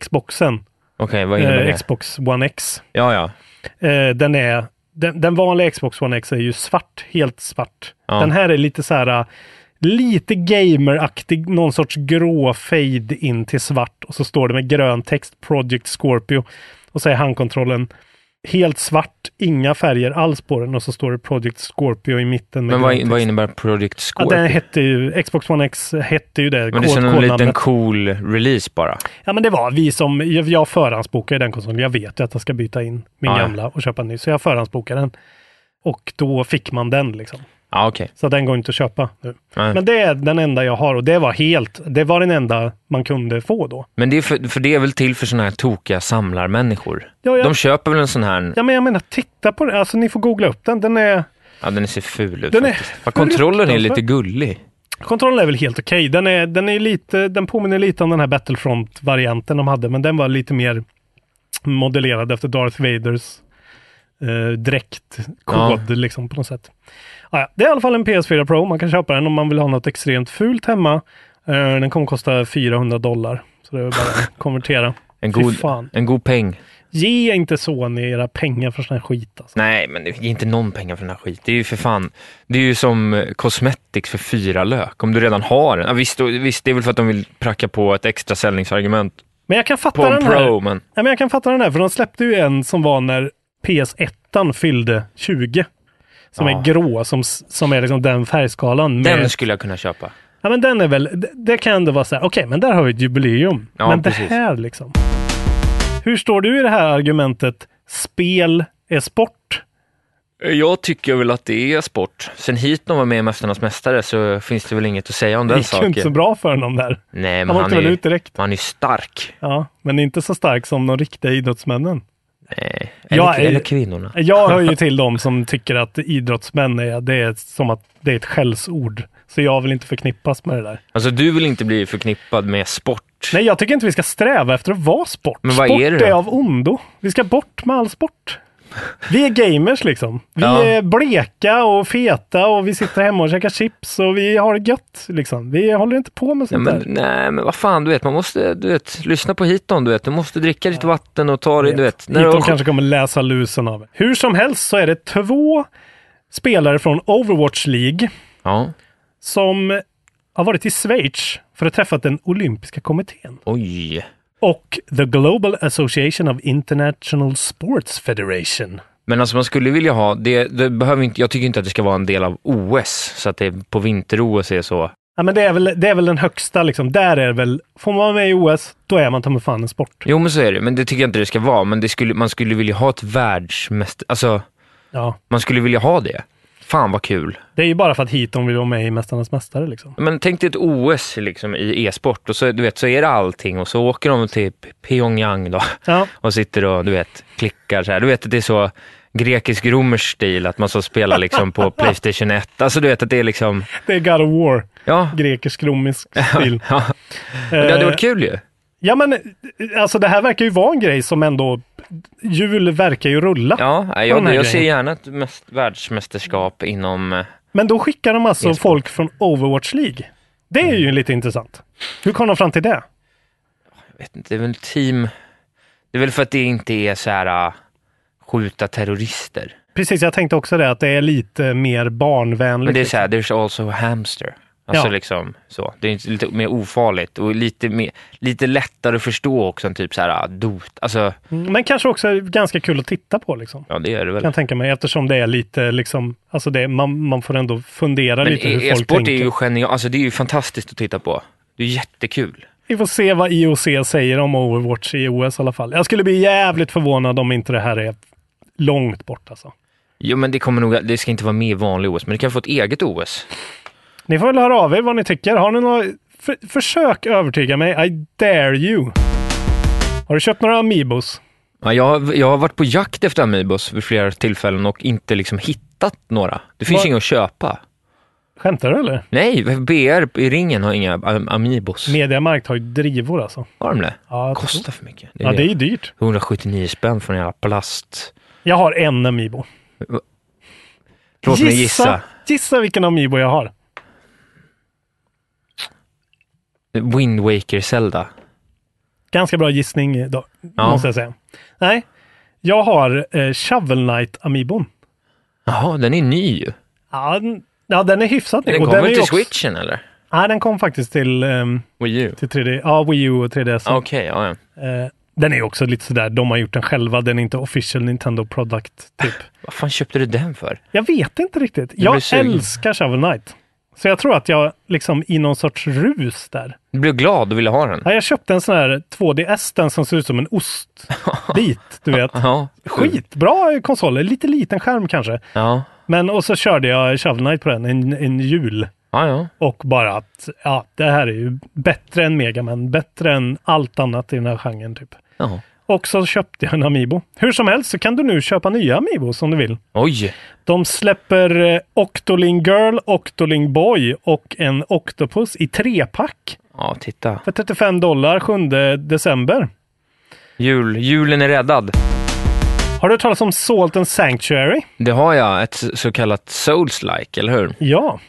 G: Xboxen,
H: Okej, vad innebär
G: eh,
H: det?
G: Xbox One X.
H: Ja, ja.
G: Eh, den är, den, den vanliga Xbox One X är ju svart, helt svart.
H: Ja.
G: Den här är lite så här, eh, lite gameraktig, någon sorts grå fade in till svart och så står det med grön text Project Scorpio och så är handkontrollen helt svart, inga färger alls på den och så står det Project Scorpio i mitten. Med
H: Men vad,
G: grön
H: vad
G: text.
H: innebär Project
G: ja,
H: Scorpio?
G: den hette ju, Xbox One X hette ju det.
H: Men det är som en
G: kodnamnet.
H: liten cool release bara.
G: Ja, men det var vi som, jag, jag förhandsbokade den konsolen. Jag vet ju att jag ska byta in min
H: Ja, ja.
G: gamla och köpa en ny, så jag förhandsbokade den. Och då fick man den liksom.
H: Ja, okej.
G: Så den går inte att köpa nu.
H: Nej.
G: Men det är den enda jag har och det var helt, det var den enda man kunde få då.
H: Men det är för, för det är väl till för såna här tokiga samlarmänniskor?
G: Ja, ja.
H: De köper väl en sån här... Ja,
G: Ja, men jag menar, titta på den. Alltså ni får googla upp den. Den är,
H: den ser ful ut
G: Den är
H: faktiskt. Är... Kontrollen är lite gullig.
G: kontrollen är väl helt okej. Den är, den är lite, den påminner lite om den här Battlefront-varianten de hade, men den var lite mer modellerad efter Darth Vaders eh, dräktkod liksom på något sätt. Ah, ja. Det är i alla fall en PS4 Pro. Man kan köpa den om man vill ha något extremt fult hemma. Eh, den kommer kosta 400 dollar. Så det är bara att konvertera.
H: En
G: Fy
H: god,
G: fan.
H: en god peng.
G: Ge inte Sony era pengar för sån här skit alltså.
H: Nej, men det är inte någon pengar för den här skiten. Det är ju för fan, det är ju som eh, cosmetics för fyra lök. Om du redan har en. Ja, visst, då- visst, det är väl för att de vill pracka på ett extra säljningsargument
G: Men jag kan fatta
H: på en
G: den här.
H: pro, men
G: Ja, men jag kan fatta den här, för de släppte ju en som var när PS1 fyllde 20. Som
H: Ja.
G: är grå, som, som är liksom den färgskalan. Med,
H: den skulle jag kunna köpa.
G: ja, men den är väl, det, det kan ändå vara så här, okej, men där har vi ett jubileum.
H: Ja,
G: men
H: precis.
G: det här liksom. Hur står du i det här argumentet, spel är sport?
H: Jag tycker väl att det är sport. Sen hit de var med i Mästarnas Mästare så finns det väl inget att säga om
G: Det
H: den
G: gick ju inte så
H: saken.
G: bra för honom där.
H: Nej, men
G: Han
H: han
G: åkte väl
H: är,
G: ut direkt.
H: han är stark.
G: Ja, men inte så stark som de riktiga idrottsmännen.
H: Nej. Eh, Eller,
G: Jag är-
H: eller kvinnorna.
G: Jag
H: <laughs>
G: hör ju till dem som tycker att idrottsmän är, det är som att det är ett skällsord. Så jag vill inte förknippas med det där.
H: Alltså du vill inte bli förknippad med sport.
G: Nej, jag tycker inte vi ska sträva efter att vara sport.
H: Men vad
G: sport
H: är det då?
G: av ondo. Vi ska bort med all sport. Vi är gamers liksom. Vi
H: Ja.
G: är bleka och feta och vi sitter hemma och käkar chips och vi har det gött liksom. Vi håller inte på med
H: Nej
G: sånt
H: men,
G: där.
H: nej men vad fan, du vet, man måste, du vet, lyssna på hiton, du vet, du måste dricka ditt vatten och ta dig, du vet. När
G: Hit
H: du
G: de
H: har,
G: kanske kommer läsa lusen av. Hur som helst så är det två spelare från Overwatch League
H: ja,
G: som har varit i Schweiz för att träffa den olympiska kommittén
H: oj.
G: och The Global Association of International Sports Federation.
H: Men alltså man skulle vilja ha, det, det behöver inte, jag tycker inte att det ska vara en del av OS, så att det på vinter-OS är så.
G: Ja, men det är väl, det är väl den högsta liksom. Där är det väl, får man vara med i OS, då är man ta mig fan en sport.
H: Jo men så är det, men det tycker jag inte det ska vara, men det skulle, man skulle vilja ha ett världsmäster, alltså
G: Ja.
H: man skulle vilja ha det. Fan vad kul.
G: Det är ju bara för att hit de vill vara med i Mästarnas Mästare liksom.
H: Men tänk dig ett OS liksom, i e-sport och så, du vet, så är det allting och så åker de till P- Pyongyang då <laughs>
G: Ja.
H: och sitter och du vet, klickar så här. Du vet att det är så grekisk-romersk stil att man så spelar liksom
G: <laughs>
H: på Playstation 1. Alltså du vet att det är liksom,
G: Det är God of War,
H: ja,
G: grekisk-romisk stil.
H: ja. <laughs> Men det hade varit kul ju.
G: Eh, Ja men, eh, alltså det här verkar ju vara en grej som ändå, jul verkar ju rulla.
H: Ja, nej,
G: den
H: jag,
G: här
H: jag ser
G: grejen.
H: gärna ett mäst, världsmästerskap inom, eh,
G: Men då skickar de alltså
H: E-sport.
G: folk från Overwatch League. Det är
H: Mm.
G: ju lite intressant. Hur kom de fram till det?
H: jag vet inte, det är väl team, det är väl för att det inte är så här eh, skjuta terrorister.
G: Precis, jag tänkte också det, att det är lite mer barnvänligt.
H: Men det är så här, there's also a hamster. Alltså
G: Ja.
H: liksom så. Det är lite mer ofarligt och lite, mer, lite lättare att förstå också än typ så här ah, dot. Alltså,
G: Mm, Men kanske också ganska kul att titta på liksom.
H: ja det är det
G: kan
H: väl.
G: jag tänka mig eftersom det är lite liksom, alltså det, man, man får ändå fundera
H: Men e-
G: lite hur folk
H: e-sport är
G: tänker.
H: ju genial, alltså det är ju fantastiskt att titta på. Det är jättekul.
G: Vi får se vad IOC säger om Overwatch i OS i alla fall. Jag skulle bli jävligt förvånad om inte det här är långt bort alltså.
H: Jo men det kommer nog, det ska inte vara med i vanlig OS, men det kan få ett eget OS.
G: Ni får väl höra av er vad ni tycker. Har ni några... För, försök övertyga mig. I dare you. Har du köpt några Amiibos?
H: Ja, jag, har- jag har varit på jakt efter Amiibos vid flera tillfällen och inte liksom hittat några. Det finns
G: Vad-
H: inga att köpa.
G: Skämtar du eller?
H: Nej, BR i ringen har inga am- Amiibos.
G: Mediamarkt har ju drivor alltså.
H: Har de det?
G: Ja, jag tror-
H: Kostar för mycket. Det är
G: Ja,
H: det.
G: det är ju dyrt.
H: 179 spänn för en jävla plast.
G: Jag har en Amiibo.
H: Låt mig gissa.
G: Gissa vilken Amiibo jag har.
H: Wind Waker Zelda.
G: Ganska bra gissning då,
H: Ja.
G: måste jag säga. Nej, jag har eh, Shovel Knight Amiibon.
H: Jaha, den är ny ju.
G: Ja, den, ja, den är hyfsat ny.
H: Den
G: Och
H: kommer
G: är ju
H: till
G: också-
H: switchen eller?
G: Nej, den kom faktiskt till, ehm,
H: Wii U?
G: till 3D, ja, Wii U och 3DS.
H: Okej, ja, ja.
G: Eh, den är också lite sådär, de har gjort den själva. Den är inte official Nintendo product typ.
H: Vad fan köpte du den för?
G: Jag vet inte riktigt.
H: blir
G: Jag
H: sugen.
G: älskar Shovel Knight. Så jag tror att jag liksom i någon sorts rus där.
H: Du blev glad och ville ha den?
G: Ja, jag köpte en sån här 2DS, den som ser ut som en ostbit, du vet.
H: <laughs> Ja.
G: Skitbra konsol, lite liten skärm kanske.
H: Ja,
G: Men och så körde jag Shovel Knight på den en, en jul
H: ja. ja.
G: och bara att ja, det här är ju bättre än Mega Man, bättre än allt annat i den här genren typ.
H: ja.
G: Och så köpte jag en Amiibo. Hur som helst så kan du nu köpa nya Amiibos om du vill.
H: Oj!
G: De släpper eh, Octoling Girl, Octoling Boy och en Octopus i trepack
H: Ja, titta.
G: för 35 dollar 7 december.
H: Jul. Julen är räddad.
G: Har du hört talas om Salt and Sanctuary?
H: Det har jag, ett så kallat souls-like, eller hur?
G: Ja.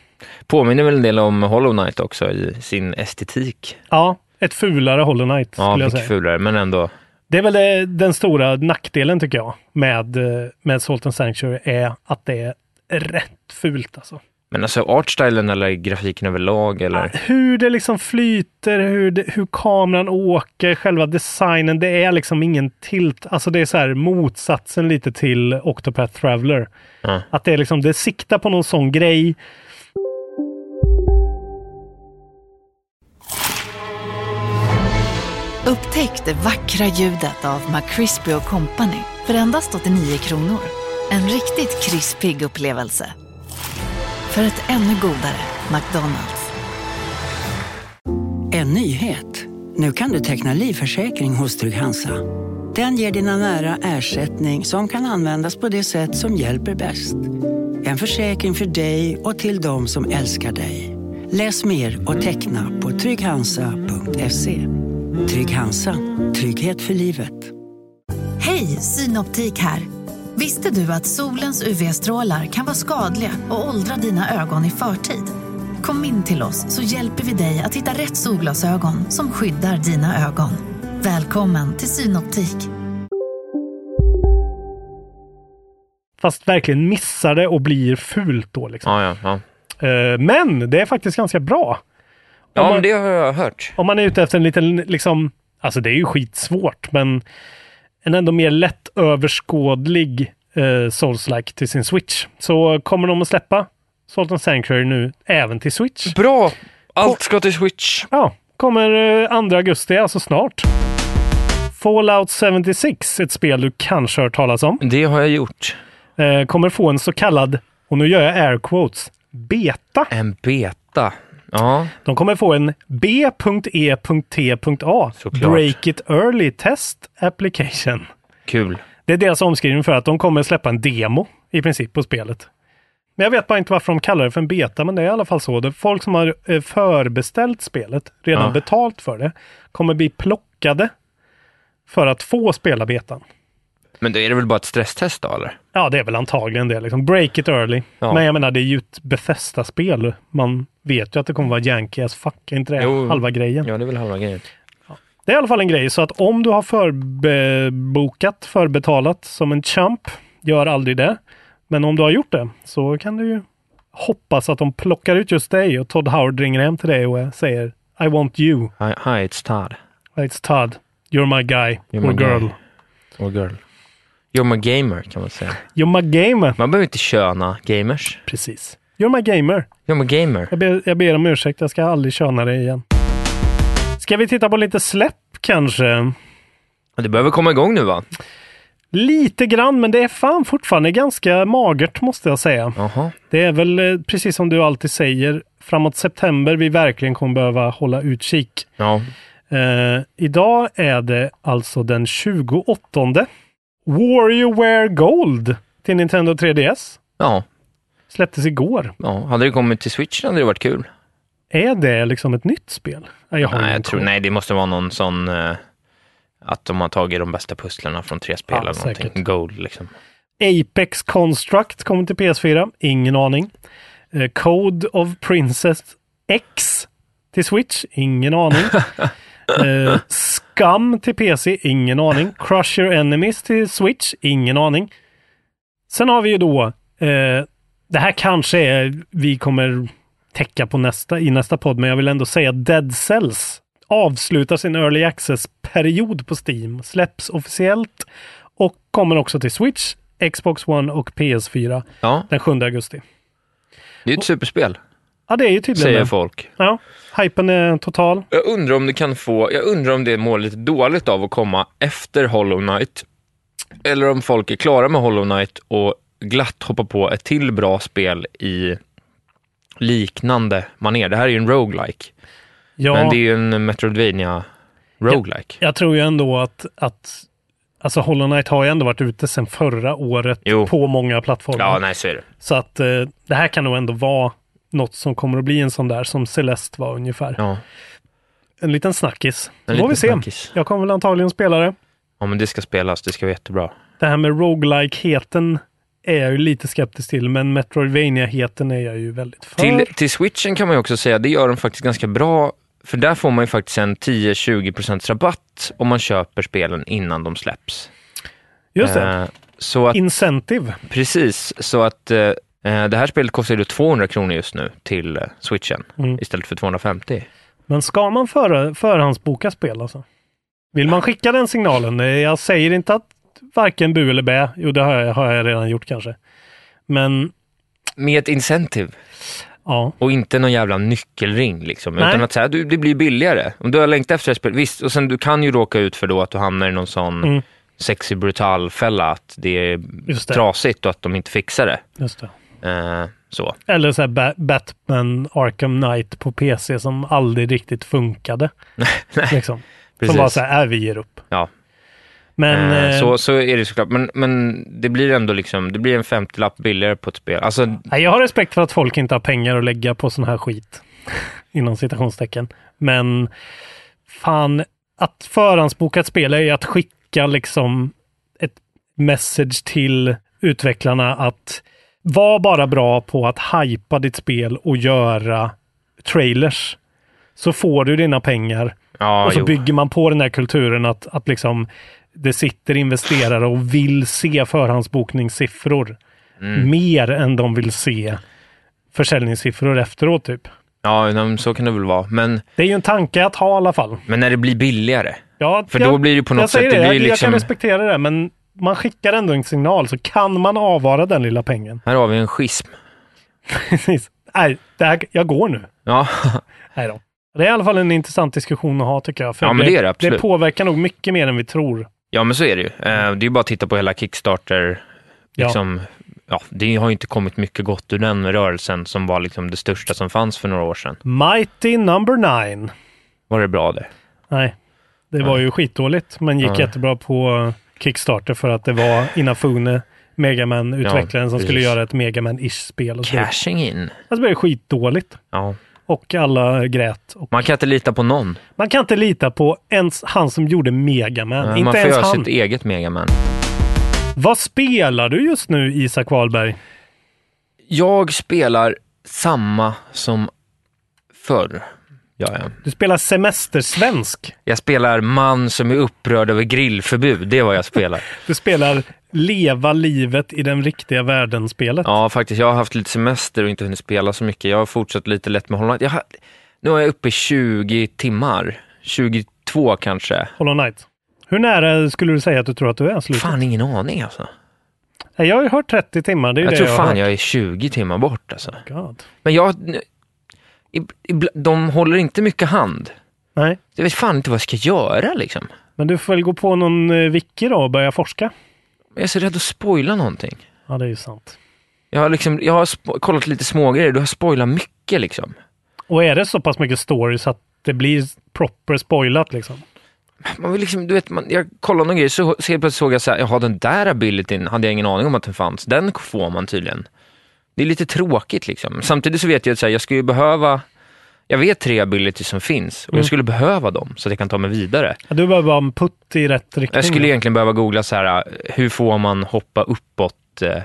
H: Påminner väl en del om Hollow Knight också i sin estetik.
G: Ja, ett fulare Hollow Knight
H: Ja,
G: skulle jag
H: mycket
G: säga.
H: fulare, men ändå.
G: Det är väl eh, den stora nackdelen tycker jag med, eh, med Salt and Sanctuary är att det är rätt fult alltså.
H: Men alltså artstylen eller grafiken överlag eller?
G: Hur det liksom flyter, hur, det, hur kameran åker, själva designen, det är liksom ingen tilt. Alltså det är så här motsatsen lite till Octopath Traveler.
H: Ja.
G: Att det är liksom, det siktar på någon sån grej.
D: Upptäck det vackra ljudet av McCrispy Company för endast 89 kronor. En riktigt krispig upplevelse. För ett ännu godare McDonalds.
I: En nyhet. Nu kan du teckna livförsäkring hos Trygg-Hansa. Den ger dina nära ersättning som kan användas på det sätt som hjälper bäst. En försäkring för dig och till de som älskar dig. Läs mer och teckna på trygghansa.se. Trygg-Hansa. Trygghet för livet.
D: Hej, Synoptik här. Visste du att solens UV-strålar kan vara skadliga och åldra dina ögon i förtid? Kom in till oss så hjälper vi dig att hitta rätt solglasögon som skyddar dina ögon. Välkommen till Synoptik.
G: Fast verkligen missar det och blir fult då liksom.
H: Ja, ja, ja.
G: Eh, Men det är faktiskt ganska bra.
H: Ja,
G: man-
H: men det har jag hört.
G: om man är ute efter en liten, liksom, alltså det är ju skitsvårt, men en ändå mer lättöverskådlig eh, Souls-like till sin Switch, så kommer de att släppa Salt and Sanctuary nu även till Switch.
H: Bra! Allt ska till Switch.
G: Ja, kommer eh, 2 augusti, alltså snart. Fallout 76, ett spel du kanske har hört talas om,
H: Det har jag gjort.
G: eh, kommer få en så kallad, och nu gör jag air quotes, beta.
H: En beta. Ja,
G: De kommer få en e B.E.T.A.
H: Såklart.
G: Break it early test application.
H: kul.
G: Det är deras omskrivning för att de kommer släppa en demo i princip på spelet. Men jag vet bara inte varför de kallar det för en beta, men det är i alla fall så. Det är folk som har eh, förbeställt spelet, redan
H: Ja.
G: betalt för det, kommer bli plockade för att få spela betan.
H: Men då är det väl bara ett stresstest då, eller?
G: Ja, det är väl antagligen det. Liksom. Break it early.
H: Ja.
G: Men jag menar, det är ju ett Bethesda-spel. Man vet ju att det kommer vara janky as fuck. Är inte det
H: Jo.
G: halva grejen?
H: Ja, det är väl halva grejen.
G: Det är i alla fall en grej, så att om du har förbokat, förbetalat som en champ, gör aldrig det. Men om du har gjort det så kan du ju hoppas att de plockar ut just dig och Todd Howard ringer hem till dig och eh, säger I want you,
H: Hi, hi it's Todd.
G: it's Todd, you're my guy,
H: You're my
G: or girl,
H: guy. Or girl. You're my gamer, kan man säga.
G: you're my gamer.
H: Man behöver inte köna gamers.
G: Precis. You're my gamer.
H: You're my gamer.
G: Jag ber, jag ber om ursäkt, jag ska aldrig köna dig igen. Ska vi titta på lite släpp kanske?
H: Ja, Det behöver komma igång nu, va?
G: Lite grann, men det är fan fortfarande ganska magert måste jag säga.
H: Jaha.
G: Det är väl eh, precis som du alltid säger, framåt september vi verkligen kommer behöva hålla utkik.
H: Ja.
G: Eh, idag är det alltså den 28. Warriorware Gold till Nintendo 3DS.
H: Ja.
G: Släpptes igår.
H: ja. Hade det kommit till Switch hade det varit kul.
G: Är det liksom ett nytt spel? Nej, Jag har
H: nej,
G: ingen
H: jag tror,
G: koll.
H: nej, det måste vara någon sån... eh, att de har tagit de bästa pusslarna från tre spel
G: Ja,
H: eller någonting.
G: säkert.
H: Gold liksom.
G: Apex Construct kommer till PS4. Ingen aning. Eh, Code of Princess X till Switch. Ingen aning. Eh, Scum till PC. Ingen aning. Crush Your Enemies till Switch. Ingen aning. Sen har vi ju då, eh, det här kanske är, vi kommer täcka på nästa, i nästa podd, men jag vill ändå säga att Dead Cells avslutar sin Early Access-period på Steam, släpps officiellt och kommer också till Switch, Xbox One och PS4
H: Ja.
G: den 7 augusti.
H: Det är ju ett superspel,
G: Ja, det är ju tydligen
H: säger
G: det.
H: folk.
G: Ja, hypen är total.
H: Jag undrar om det kan få, jag undrar om det mår lite dåligt av att komma efter Hollow Knight. Eller om folk är klara med Hollow Knight och glatt hoppar på ett till bra spel i liknande manér. Det här är ju en roguelike.
G: Ja.
H: Men det är ju en Metroidvania roguelike.
G: Jag tror ju ändå att, att alltså Hollow Knight har ju ändå varit ute sedan förra året
H: Jo.
G: på många plattformar.
H: Ja, nej så är det.
G: Så att eh, det här kan nog ändå vara något som kommer att bli en sån där som Celeste var ungefär. En liten snackis.
H: En
G: Då
H: liten
G: får vi se.
H: snackis.
G: Jag kommer väl antagligen spela det.
H: Ja, men det ska spelas, det ska vara jättebra.
G: Det här med roguelike-heten är jag ju lite skeptisk till, men Metroidvania-heten är jag ju väldigt för.
H: Till, till switchen kan man ju också säga, det gör de faktiskt ganska bra, för där får man ju faktiskt en 10-20% rabatt om man köper spelen innan de släpps.
G: Just det.
H: Eh, så att,
G: Incentive.
H: precis, så att eh, eh, det här spelet kostar ju då 200 kronor just nu till eh, switchen
G: Mm.
H: istället för 250.
G: Men ska man för, förhandsboka spel alltså? Vill man skicka den signalen? Eh, Jag säger inte att varken bu eller bä. Jo, det har jag, har jag redan gjort kanske. Men
H: Med ett incentive.
G: Ja.
H: Och inte någon jävla nyckelring liksom.
G: Nej.
H: Utan att säga, du, det blir billigare. Om du har längtat efter ett spel, visst, och sen du kan ju råka ut för då att du hamnar i någon sån
G: Mm.
H: sexy brutal fälla att det är
G: Just det.
H: trasigt och att de inte fixar det.
G: just det.
H: Eh, så.
G: Eller så här ba- Batman Arkham Knight på PC som aldrig riktigt funkade.
H: <laughs>
G: liksom. Som
H: precis.
G: bara så här, äh, vi ger upp.
H: Ja.
G: Men
H: Eh,
G: eh,
H: så, så är det såklart. Men, men det blir ändå liksom, det blir en 50-lapp billigare på ett spel. Alltså,
G: nej, jag har respekt för att folk inte har pengar att lägga på sån här skit. <laughs> Inom citationstecken. Men fan, att förhandsboka ett spel är ju att skicka liksom ett message till utvecklarna att var bara bra på att hypa ditt spel och göra trailers. Så får du dina pengar
H: ja,
G: och så
H: jo.
G: bygger man på den här kulturen att, att liksom det sitter investerare och vill se förhandsbokningssiffror
H: Mm.
G: mer än de vill se försäljningssiffror efteråt. typ.
H: ja men så kan det väl vara. Men,
G: Det är ju en tanke att ha i alla fall.
H: men när det blir billigare.
G: Ja,
H: För
G: jag,
H: då blir det på
G: jag
H: något sätt,
G: säger
H: det
G: det,
H: blir
G: jag, jag
H: liksom-
G: kan respektera det, men man skickar ändå en signal så kan man avvara den lilla pengen. <laughs>
H: Här har vi en schism.
G: Precis. Nej, det här, jag går nu.
H: Ja, <laughs>
G: Nej då. Det är i alla fall en intressant diskussion att ha tycker jag. För
H: Ja, men det är det absolut.
G: det påverkar nog mycket mer än vi tror.
H: ja men så är det ju. Eh, det är ju bara att titta på hela Kickstarter.
G: Ja.
H: Liksom, ja, det har ju inte kommit mycket gott ur den rörelsen som var liksom det största som fanns för några år sedan.
G: Mighty number nine.
H: Var det bra det?
G: Nej, det var ju skitdåligt, men gick
H: Ja.
G: jättebra på eh, Kickstarter för att det var Inafune, Megaman-utvecklaren
H: Ja,
G: som
H: precis.
G: skulle göra ett Megaman-ish spel. Och så vidare.
H: Cashing in.
G: Alltså det blev skitdåligt
H: Ja.
G: och alla grät. Och
H: Man kan inte lita på någon.
G: man kan inte lita på ens han som gjorde Megaman.
H: Eh, man
G: inte
H: får
G: ens
H: göra
G: han.
H: sitt e- eget Megaman.
G: Vad spelar du just nu, Isak Wahlberg?
H: Jag spelar samma som förr. Ja, ja.
G: Du spelar semestersvensk.
H: Jag spelar man som är upprörd över grillförbud. Det är vad jag
G: <laughs>
H: spelar.
G: Du spelar leva livet i den riktiga världen-spelet.
H: Ja, faktiskt. Jag har haft lite semester och inte hunnit spela så mycket. Jag har fortsatt lite lätt med Hollow Knight. Jag har... Nu är jag uppe i 20 timmar. 22 kanske.
G: Hollow Knight. Hur nära skulle du säga att du tror att du är slutet?
H: Fan, ingen aning alltså.
G: Nej, Jag har ju hört 30 timmar. Det är
H: Jag
G: det
H: tror
G: jag
H: fan
G: har hört.
H: jag är 20 timmar bort alltså.
G: God.
H: Men jag... ib- ib- De håller inte mycket hand.
G: Nej,
H: Jag vet fan inte vad jag ska göra liksom.
G: men du får väl gå på någon eh, wiki då och börja forska.
H: Jag är så rädd att spoila någonting.
G: Ja, det är ju sant.
H: Jag har, liksom, jag har spo- kollat lite smågrejer, du har spoilat mycket liksom.
G: Och är det så pass mycket stories att det blir proper spoilat liksom?
H: Man vill liksom, du vet, man, jag kollade någon grej så, så helt plötsligt såg jag så här, jaha den där abilityn hade jag ingen aning om att den fanns. Den får man tydligen. Det är lite tråkigt liksom. Samtidigt så vet jag att så här, jag skulle ju behöva, jag vet tre abilities som finns och
G: Mm.
H: jag skulle behöva dem så att jag kan ta mig vidare.
G: Ja, Du behöver bara en putt i rätt riktning.
H: Jag skulle egentligen behöva googla så här, eh, hur får man hoppa uppåt eh,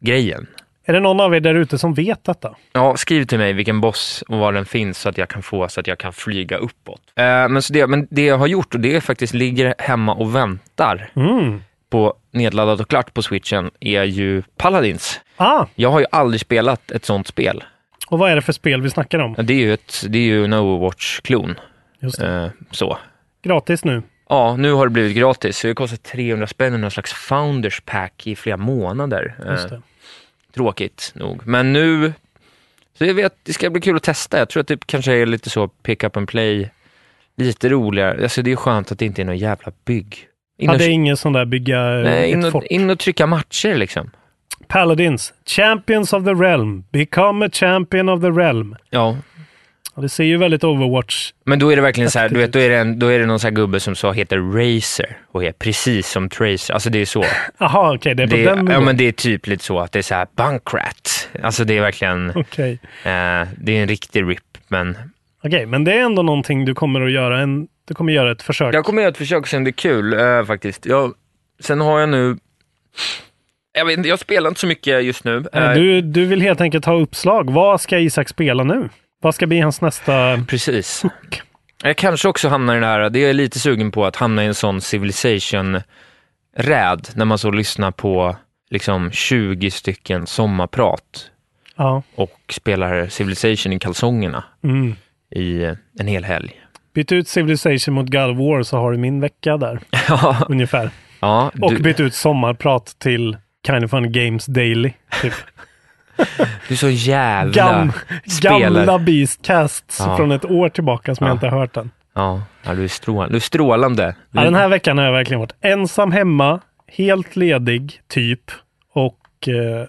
H: grejen?
G: Är det någon av er där ute som vet detta?
H: Ja, skriv till mig vilken boss och var den finns så att jag kan få så att jag kan flyga uppåt. Eh, men, så det, men det jag har gjort och det är faktiskt ligger hemma och väntar
G: Mm.
H: på nedladdat och klart på switchen är ju Paladins.
G: Ah.
H: Jag har ju aldrig spelat ett sånt spel.
G: Och vad är det för spel vi snackar om?
H: Det är ju, ett, det är ju en Overwatch-klon.
G: Just
H: Eh, så.
G: Gratis nu.
H: Ja, nu har det blivit gratis. Så det kostar 300 spänn i någon slags founders pack i flera månader. Eh,
G: Just det.
H: Tråkigt nog. Men nu, så jag vet, det ska bli kul att testa. Jag tror att det kanske är lite så pick up and play, lite roligare. Alltså det är skönt att det inte är någon jävla bygg. In
G: Ja,
H: och,
G: det är ingen sån där bygga eh,
H: nej, in,
G: ett
H: och,
G: fort.
H: in och trycka matcher liksom.
G: Paladins, Champions of the Realm. Become a champion of the realm.
H: Ja.
G: Ja, det ser ju väldigt Overwatch.
H: Men då är det verkligen så här, du vet, då är det, en, då är det någon så här gubbe som så heter Racer och är precis som Tracer. Alltså det är så.
G: Jaha, okej, det är på
H: Det
G: den
H: är, ja,
G: nivån.
H: men det är typ lite så att det är så här bankrat. Alltså det är verkligen,
G: Okej.
H: eh, det är en riktig rip. Men
G: Okej, men det är ändå någonting du kommer att göra. En, du kommer göra ett försök.
H: jag kommer göra ett försök sen, det är kul eh, faktiskt. Jag, sen har jag nu, jag, vet, inte, jag spelar inte så mycket just nu. Eh,
G: Nej, Du, du vill helt enkelt ha uppslag. Vad ska Isak spela nu? Vad ska bli hans nästa...
H: Precis. Jag kanske också hamnar i den här, det är jag lite sugen på, att hamna i en sån civilization-räd, när man så lyssnar på liksom 20 stycken sommarprat
G: Ja.
H: och spelar civilization i kalsongerna
G: Mm.
H: i en hel helg. <laughs>
G: Byt ut Civilization mot God of War så har du min
H: <laughs>
G: vecka där. Ungefär.
H: Ja, du,
G: Och byt ut sommarprat till Kind of Fun Games Daily.
H: <laughs>
G: Typ.
H: du är så jävla
G: Gam,
H: spelare.
G: gamla Beastcasts
H: Ja.
G: från ett år tillbaka som jag
H: Ja.
G: inte har hört än.
H: Ja, ja du, är strålande. du är strålande. Du,
G: Ja, den här veckan har jag verkligen varit ensam hemma, helt ledig, typ. Och eh,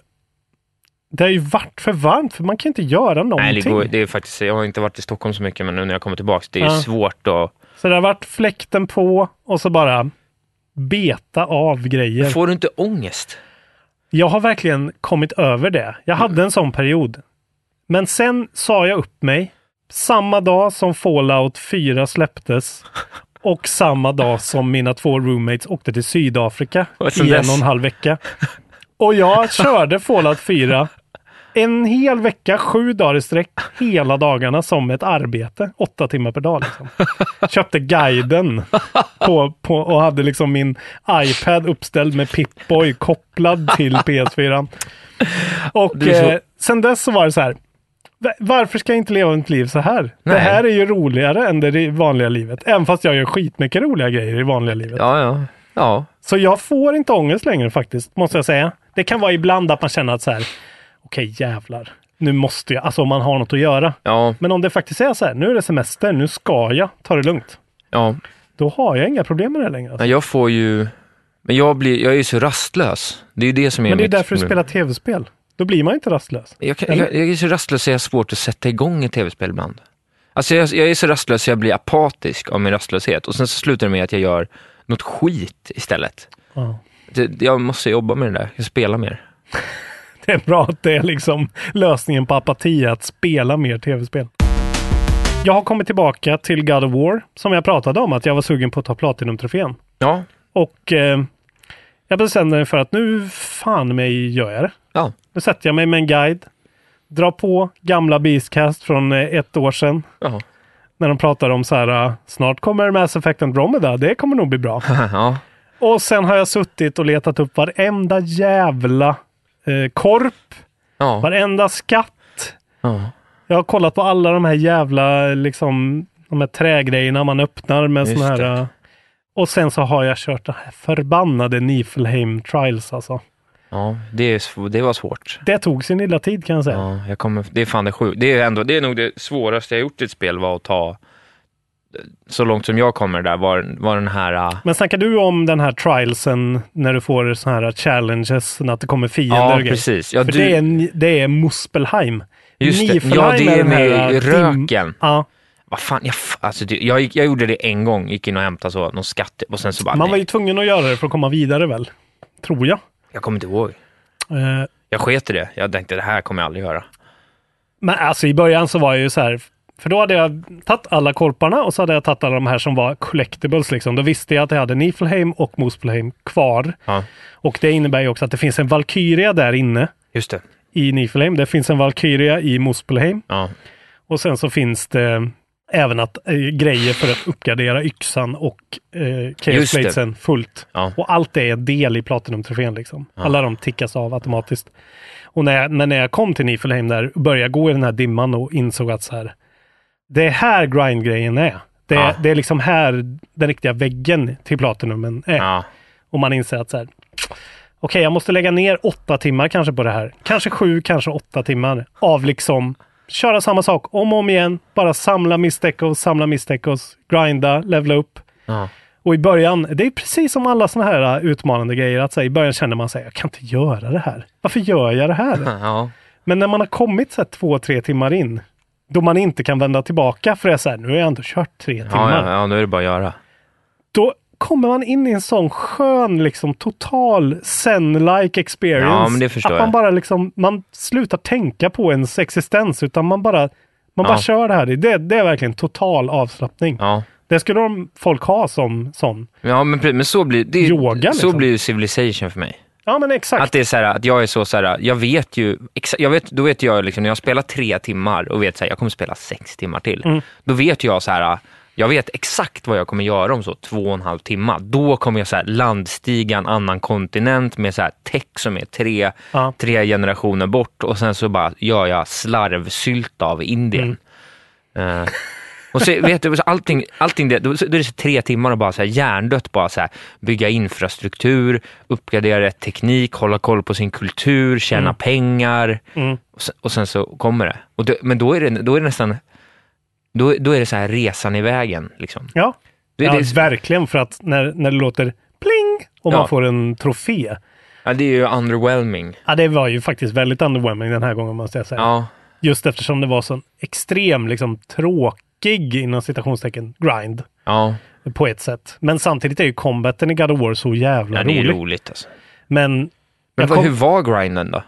G: det har ju varit för varmt, för man kan inte göra någonting.
H: nej, det, går, det är faktiskt, jag har inte varit i Stockholm så mycket, men nu när jag kommer tillbaka, det är
G: Ja.
H: svårt att...
G: Så det har varit fläkten på och så bara beta av grejer.
H: Får du inte ångest?
G: Jag har verkligen kommit över det. Jag hade en sån period. Men sen sa jag upp mig samma dag som Fallout 4 släpptes och samma dag som mina två roommates åkte till Sydafrika
H: Och sen
G: i en
H: dess.
G: och en halv vecka. Och jag körde Fallout 4 en hel vecka, sju dagar i sträck, hela dagarna som ett arbete. Åtta timmar per dag. Liksom. Köpte guiden på, på, och hade liksom min iPad uppställd med Pip-Boy kopplad till PS4. Och
H: Det är så-
G: eh, sen dess så var det så här. "Va- Varför ska jag inte leva mitt liv så här? Det
H: Nej.
G: här är ju roligare än det ri- vanliga livet. Även fast jag gör skitmycket roliga grejer i vanliga livet.
H: Ja, ja. ja.
G: Så jag får inte ångest längre faktiskt, måste jag säga. Det kan vara ibland att man känner att så här, okej jävlar, nu måste jag, alltså om man har något att göra.
H: Ja,
G: Men om det faktiskt är så här, nu är det semester, nu ska jag ta det lugnt.
H: ja.
G: Då har jag inga problem med det längre. Alltså.
H: Nej, jag får ju... Men jag, blir, jag är ju så rastlös. Det är ju det som är
G: Men det är
H: mitt
G: därför du
H: problem.
G: spelar tv-spel. Då blir man ju inte rastlös.
H: Jag, kan,
G: Eller?
H: jag, jag är så rastlös så jag har svårt att sätta igång ett tv-spel ibland. Alltså jag, jag är så rastlös så jag blir apatisk av min rastlöshet och sen så slutar det med att jag gör något skit istället.
G: Ja.
H: Det, jag måste jobba med det där, jag spelar mer.
G: Det är bra att det är liksom lösningen på apati, att spela mer tv-spel. Jag har kommit tillbaka till God of War, som jag pratade om, att jag var sugen på att ta Platinum-trofén.
H: Ja,
G: Och eh, jag bestämde mig för att nu fan mig gör jag det.
H: ja.
G: Nu sätter jag mig med en guide, drar på gamla Beastcast från eh, ett år sedan.
H: Ja. <laughs>
G: När de pratar om så här, eh, snart kommer Mass Effect Andromeda, det kommer nog
H: <laughs>
G: bli bra.
H: ja.
G: och sen har jag suttit och letat upp varenda jävla eh, korp,
H: ja.
G: varenda skatt.
H: ja.
G: Jag har kollat på alla de här jävla, liksom, de här trägrejerna man öppnar med
H: Just
G: såna här...
H: det.
G: eh, Och sen så har jag kört det här förbannade Niflheim Trials alltså.
H: ja. Det, är, sv- det var svårt.
G: Det tog sin lilla tid kan jag säga.
H: Ja, jag kommer, det är fan det sjukt. Det är, ändå, det är nog det svåraste jag gjort i ett spel var att ta, så långt som jag kommer där, var, var den här... ah,
G: Men snackar du om den här trialsen när du får såna här challenges, att det kommer fiender
H: Ja,
G: och grejer?
H: precis. Ja,
G: För
H: du-
G: det, är, en- det är Muspelheim.
H: Just det.
G: Knee-fly
H: Ja, det är
G: den här,
H: med
G: äh,
H: röken.
G: Ja.
H: Vad fan, jag, f- alltså, det, jag, gick- jag gjorde det en gång, gick in och hämtade så, någon skatt och sen så bara,
G: Man
H: nej,
G: var ju tvungen att göra det för att komma vidare väl? Tror jag.
H: jag kommer inte ihåg.
G: Eh,
H: Jag sket i det. Jag tänkte det här kommer jag aldrig göra.
G: Men alltså i början så var jag ju så här, för då hade jag tagit alla korparna och så hade jag tagit alla de här som var collectibles liksom. Då visste jag att jag hade Niflheim och Mospelheim kvar.
H: Ja.
G: Och det innebär ju också att det finns en Valkyria där inne
H: Just det.
G: i Niflheim. Det finns en Valkyria i Mospelheim. Och sen så finns det även att, eh, grejer för att uppgradera yxan och eh,
H: Just
G: Chaos
H: det.
G: Platesen fullt. Och allt det är del i Platinum-trofén. Liksom.
H: Ja.
G: Alla de tickas av automatiskt. Och när jag, men när jag kom till Niflheim där, började gå i den här dimman och insåg att så här, det är här grindgrejen är. Det, är-
H: Ja.
G: det är liksom här den riktiga väggen till Platinumen är. Och man inser att så här, okej, jag måste lägga ner åtta timmar kanske på det här. Kanske sju, kanske åtta timmar av liksom köra samma sak om och om igen. Bara samla misstecos, samla misstecos, grinda, levla upp.
H: Ja.
G: Och i början, det är precis som alla sådana här äh, utmanande grejer, att så här, i början känner man sig, jag kan inte göra det här. Varför gör jag det här?
H: <laughs> Ja.
G: Men när man har kommit så här, två, tre timmar in, då man inte kan vända tillbaka för det är så här, nu har jag ändå kört tre timmar
H: Ja, ja, ja, nu är det bara att göra.
G: då kommer man in i en sån skön, liksom total zen-like experience.
H: Ja, men det förstår
G: att man
H: jag.
G: bara liksom, man slutar tänka på ens existens, utan man bara, man bara
H: Ja.
G: kör det här. Det, det är verkligen total avslappning. Det skulle de folk ha som sån.
H: Ja, men, pre- men så blir det,
G: Yoga, liksom.
H: så blir ju civilization för mig.
G: Ja, men exakt.
H: Att det är så här, att jag är så så här, jag vet ju, exa, jag vet, då vet jag liksom, när jag spelar tre timmar och vet så här, jag kommer spela sex timmar till.
G: Mm.
H: Då vet jag så här, jag vet exakt vad jag kommer göra om så två och en halv timme. Då kommer jag så här landstiga en annan kontinent med så här tech som är tre, tre generationer bort och sen så bara gör jag slarvsylta av Indien.
G: Mm.
H: Eh, och så vet du, så allting, allting det, då, så- då är det så tre timmar och bara så här hjärndött, bara så här, bygga infrastruktur, uppgradera rätt teknik, hålla koll på sin kultur, tjäna
G: Mm.
H: pengar
G: Mm.
H: och sen, och sen så kommer det. Och då, men då är det, då är det nästan, då, då är det så här resan i vägen. Liksom.
G: Ja,
H: Det är
G: ja
H: det-
G: verkligen för att när, när det låter pling och
H: Ja.
G: man får en trofé.
H: Ja, det är ju underwhelming.
G: Ja, det var ju faktiskt väldigt underwhelming den här gången måste jag säga.
H: Ja.
G: Just eftersom det var sån extrem, liksom tråkig inom citationstecken, grind.
H: Ja,
G: på ett sätt. Men samtidigt är ju combaten i God of War så jävla
H: ja det är
G: rolig.
H: ju roligt alltså.
G: Men,
H: Men
G: jag
H: vad,
G: kom-
H: hur var grinden då?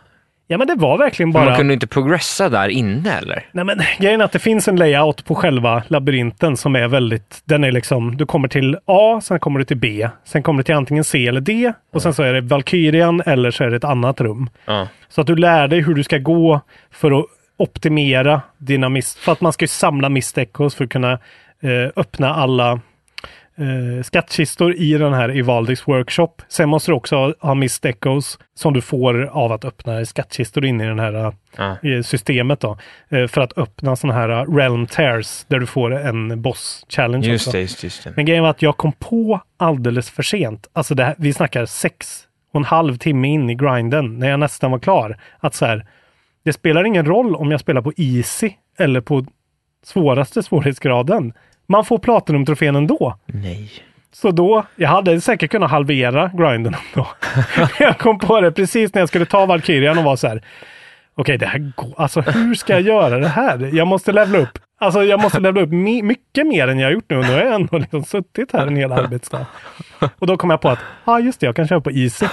G: ja, men det var verkligen
H: Bara...
G: bara...
H: Man kunde inte progressa där inne eller?
G: Nej, men <laughs> grejen är att det finns en layout på själva labyrinten som är väldigt... Den är liksom, du kommer till A, sen kommer du till B, sen kommer du till antingen C eller D och sen så är det Valkyrian eller så är det ett annat rum.
H: Ja.
G: Så att du lär dig hur du ska gå för att optimera dina miss... För att man ska ju samla misstecos för att kunna eh, öppna alla eh, skattkistor i den här Evaldix workshop. Sen måste du också ha, ha misstecos som du får av att öppna skattkistor in i den här
H: Ja.
G: eh, systemet då. Eh, för att öppna sådana här eh, realm tears där du får en boss challenge
H: Just
G: också.
H: det, just, just det.
G: Men grejen var att jag kom på alldeles för sent. Alltså det här, vi snackar sex och en halv timme in i grinden när jag nästan var klar. Att så här, det spelar ingen roll om jag spelar på easy eller på svåraste svårighetsgraden. Man får platinumtrofén ändå.
H: Nej.
G: Så då, jag hade säkert kunnat halvera grinden
H: <laughs>
G: ändå. jag kom på det precis när jag skulle ta Valkyrian och var så här. Okej, det här går, alltså hur ska jag göra det här? Jag måste levla upp. Alltså jag måste levla upp mi- mycket mer än jag har gjort nu. Nu har jag ändå liksom suttit här en hel arbetsdag. Och då kom jag på att, ja ah, just det, jag kan köra på easy.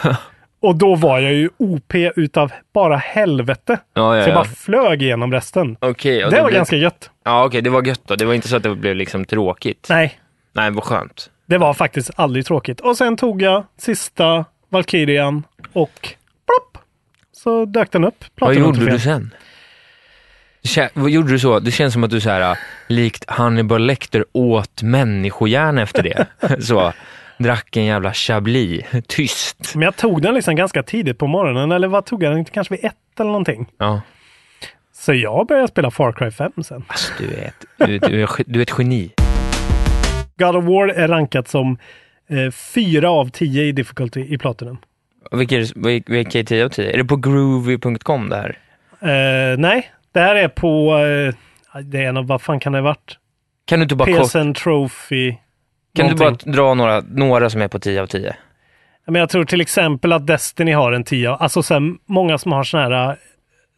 G: Och då var jag ju OP utav bara helvete.
H: Ja, ja,
G: Så jag bara
H: ja.
G: flög igenom resten.
H: Okej, och
G: det,
H: det
G: var
H: blev-
G: ganska gött.
H: Ja, okej, det var gött då. Det var inte så att det blev liksom tråkigt.
G: Nej,
H: Nej, vad skönt.
G: Det var faktiskt aldrig tråkigt. Och sen tog jag sista Valkyrian och plopp! Så dök den upp.
H: Vad
G: Platinum
H: gjorde
G: trofén.
H: du sen? Du kä- Vad gjorde du så? Det känns som att du så här, äh, likt Hannibal Lecter åt människohjärna efter det. <laughs> så, drack en jävla chablis, tyst.
G: Men jag tog den liksom ganska tidigt på morgonen. Eller vad tog jag den? Kanske vid ett eller någonting.
H: Ja,
G: Så jag började spela Far Cry 5 sen.
H: alltså, du, är ett, du, är ett- du, är, ett- du är ett geni.
G: God of War är rankat som eh, 4 av 10 i difficulty i Platinum.
H: Och Vilka är, det- vil- vilka är 10 av 10? Är det på groovy.com det här?
G: Eh, nej, det här är på... Eh, det är en av, vad fan kan det ha varit?
H: Kan du inte bara kort,
G: PSN Trophy.
H: kan du bara
G: någonting.
H: dra några, några som är på 10 av 10?
G: Ja, Men jag tror till exempel att Destiny har en 10. Alltså så här, många som har såna här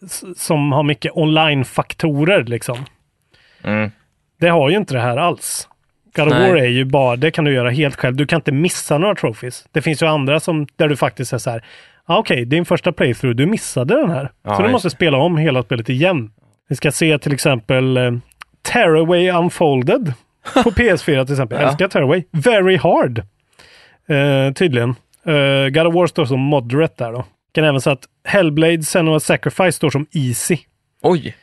G: s- som har mycket online-faktorer liksom.
H: Mm.
G: Det har ju inte det här alls. God of
H: Nej.
G: War är ju bara, det kan du göra helt själv. Du kan inte missa några trophies. Det finns ju andra som, där du faktiskt är så här, ah, okej, din första playthrough, du missade den här.
H: Ja,
G: så du
H: just
G: måste spela om hela spelet igen. Vi ska se till exempel eh, Tearaway Unfolded på PS4 till exempel. Jag
H: Ja.
G: älskar Tearaway. Very hard. Eh, tydligen. Eh, God of War står som moderate där då. Kan även säga att Hellblade Senua Sacrifice står som easy.
H: Oj!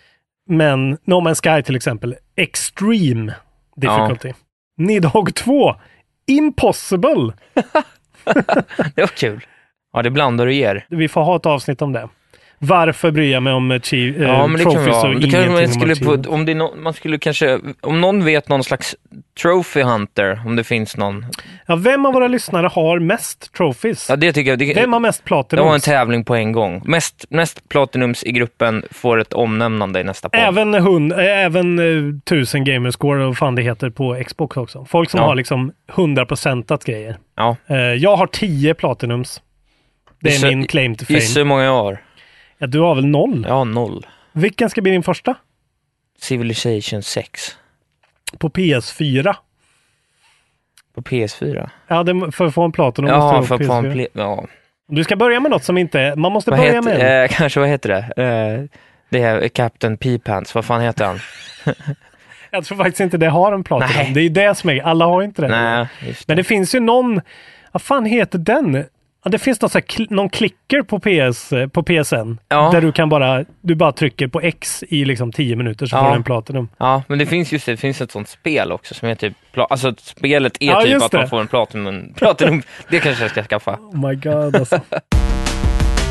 G: Men No Man's Sky till exempel, extreme difficulty.
H: Ja.
G: Nidhogg 2, impossible.
H: <laughs> Det var kul. Ja, det blandar och ger.
G: Vi får ha ett avsnitt om det. Varför bryr jag mig om achieve, eh,
H: Ja, men det kan
G: trophies och
H: vara. Det
G: ingenting
H: kan man
G: om
H: skulle
G: achievement?
H: på, om det är nå- man skulle kanske, om någon vet någon slags trophy hunter, om det finns någon.
G: ja, vem av våra lyssnare har mest trophies?
H: Ja, det tycker jag. Det,
G: Vem har mest
H: det var en
G: platinums?
H: tävling på en gång. Mest, mest platinums i gruppen får ett omnämnande i nästa podd.
G: Även, hund, eh, även eh, 1000 gamerscore och vad fan det heter på Xbox också. Folk som
H: Ja.
G: har liksom 100%at grejer.
H: Ja.
G: Eh, jag har 10 platinums. Det är
H: Gissa-
G: min claim to
H: Gissa
G: fame.
H: hur många jag har?
G: Ja, du har väl noll?
H: Jag har noll.
G: Vilken ska bli din första?
H: Civilization 6
G: På PS4?
H: på PS4.
G: Ja, det, för att få en Platinum måste
H: Ja,
G: du
H: för
G: ha
H: att få en
G: PS4.
H: pli- ja.
G: Du ska börja med något som inte... Man måste
H: Vad
G: börja med en.
H: heter, eh, <laughs> kanske, vad heter det? Eh, det är Captain P-Pants, vad fan heter han?
G: Jag tror faktiskt inte det har en Platinum.
H: Nej.
G: Det är ju det som är... Alla har ju inte
H: <laughs>
G: det.
H: Nej, just
G: Men det finns ju någon... Vad fan heter den? Ja, det finns något så här, kl- någon klicker på, PS, eh, på PSN.
H: Ja.
G: Där du kan bara... Du bara trycker på X i liksom 10 minuter så
H: Ja.
G: får du en Platinum.
H: Ja, men det finns just det, det finns ett sånt spel också som är typ, pla- alltså att spelet är
G: Ja,
H: typ
G: just
H: att
G: det.
H: man får en platinum, <laughs> platinum, det kanske jag ska skaffa.
G: Oh my god alltså. <laughs>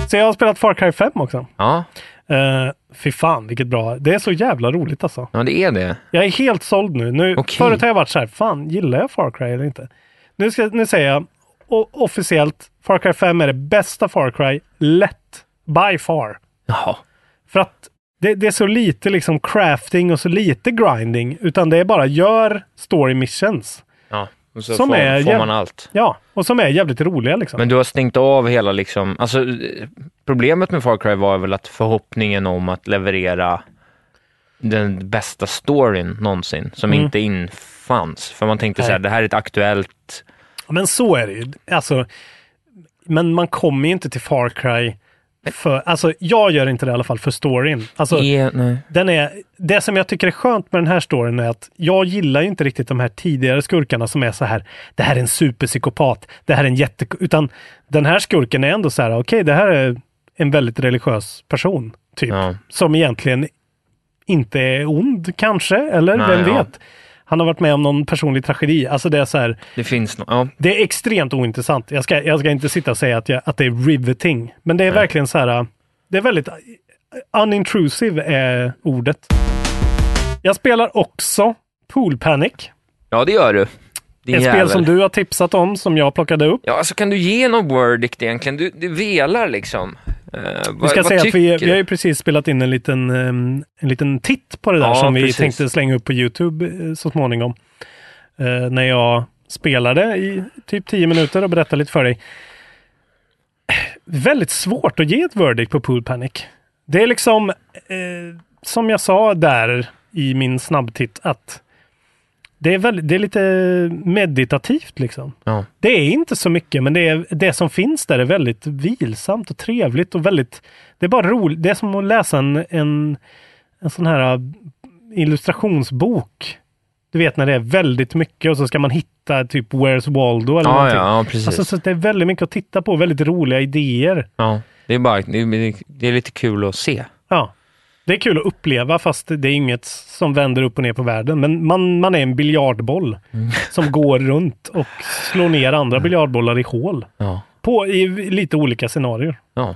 G: Så jag har spelat Far Cry 5 också.
H: Ja,
G: Uh, fy fan vilket bra. Det är så jävla roligt alltså.
H: ja det är det.
G: Jag är helt såld nu. nu
H: Okej.
G: Förut har jag varit så här, fan gillar jag Far Cry eller inte? Nu, ska, nu säger jag o- officiellt, Far Cry 5 är det bästa Far Cry, lätt, by far.
H: Ja,
G: För att det, det är så lite liksom crafting och så lite grinding, utan det är bara gör story missions.
H: ja. Och så
G: Som
H: får,
G: är
H: får
G: jäv-
H: man allt.
G: Ja, och som är jävligt roliga liksom.
H: Men du har stängt av hela liksom, alltså eh, problemet med Far Cry var väl att förhoppningen om att leverera den bästa storyn någonsin, som
G: Mm.
H: inte infanns. För man tänkte så här,
G: Nej.
H: det här är ett aktuellt,
G: Men så är det ju. Alltså, men man kommer ju inte till Far Cry för, alltså jag gör inte det i alla fall för storyn. Alltså,
H: är, E, nej.
G: den är, det som jag tycker är skönt med den här storyn är att jag gillar ju inte riktigt de här tidigare skurkarna som är så här, det här är en superpsykopat, det här är en jätte... Utan den här skurken är ändå så här, okej, det här är en väldigt religiös person, typ.
H: Ja.
G: Som egentligen inte är ond, kanske, eller
H: Nej,
G: vem
H: ja.
G: vet? Han har varit med om någon personlig tragedi. Alltså det är så här,
H: det finns no- ja.
G: det är extremt ointressant. Jag ska, jag ska inte sitta och säga att, jag, att det är riveting, men det är verkligen så här. Det är väldigt unintrusive är ordet. Jag spelar också Pool Panic.
H: ja, det gör du. Din
G: ett
H: jävel.
G: spel som du har tipsat om som jag plockade upp.
H: Ja, alltså kan du ge någon verdict egentligen? Du, du velar liksom. Eh,
G: Vi
H: vad-
G: ska
H: vad
G: säga att vi,
H: tycker
G: vi har
H: du?
G: ju precis spelat in en liten, ehm, en liten titt på det där
H: Ja,
G: som vi
H: precis.
G: tänkte slänga upp på Youtube eh, så småningom. Eh, när jag spelade i typ 10 minuter och berättade lite för dig. Väldigt svårt att ge ett verdict på Pool Panic. Det är liksom, eh, som jag sa där i min snabbtitt, att det är, väldigt, det är lite meditativt liksom.
H: Ja.
G: Det är inte så mycket, men det, är, det som finns där är väldigt vilsamt och trevligt och väldigt... Det är bara roligt. Det är som att läsa en, en, en sån här äh, illustrationsbok. Du vet när det är väldigt mycket och så ska man hitta typ Where's Waldo eller
H: Ja,
G: någonting.
H: ja, ja, precis.
G: Alltså, så det är väldigt mycket att titta på, väldigt roliga idéer.
H: Ja, det är bara, det är, det är lite kul att se.
G: Ja. Det är kul att uppleva fast det är inget som vänder upp och ner på världen. Men man, man är en biljardboll
H: Mm.
G: som går runt och slår ner andra biljardbollar i hål.
H: Ja.
G: På, I lite olika scenarier.
H: Ja.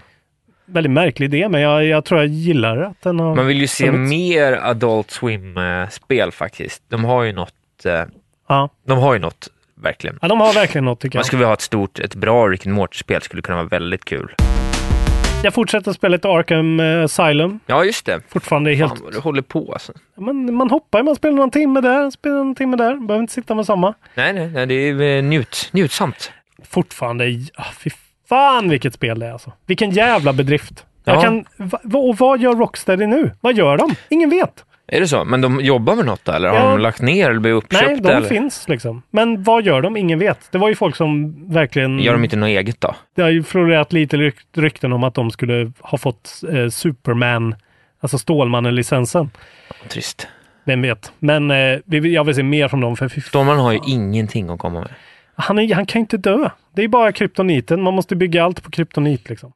G: Väldigt märklig idé, men jag, jag tror jag gillar att den har...
H: Man vill ju se
G: funnits.
H: mer Adult Swim-spel faktiskt. De har ju något, eh,
G: Ja.
H: de har ju något verkligen.
G: ja, de har verkligen något tycker
H: Man
G: jag.
H: skulle vilja ha ett stort, ett bra Rick and Morty-spel skulle kunna vara väldigt kul.
G: Jag fortsätter spela lite Arkham eh, Asylum.
H: Ja, just det.
G: Fortfarande helt...
H: Fan vad du håller på alltså.
G: Man, man hoppar, man spelar någon timme där, spelar någon timme där. Behöver inte sitta med samma.
H: Nej, nej, nej, det är eh, njut, njutsamt.
G: Fortfarande... Ah, fy fan vilket spel det är alltså. Vilken jävla bedrift. Jag
H: Ja.
G: kan, va, va- och vad gör Rocksteady nu? Vad gör de? Ingen vet.
H: Är det så? Men de jobbar med något där, eller har
G: Ja.
H: de lagt ner eller blivit uppköpta?
G: Nej, de
H: eller?
G: finns liksom. Men vad gör de? Ingen vet. Det var ju folk som verkligen...
H: Gör de inte något eget då?
G: Det har ju florerat lite ryk- rykten om att de skulle ha fått eh, Superman, alltså Stålmannen-licensen.
H: Trist.
G: Vem vet? Men eh, vi vill- jag vill se mer från dem. För fy fan.
H: Stålmannen har ju ingenting att komma med.
G: han, är, han kan ju inte dö. Det är bara kryptoniten. Man måste bygga allt på kryptonit liksom.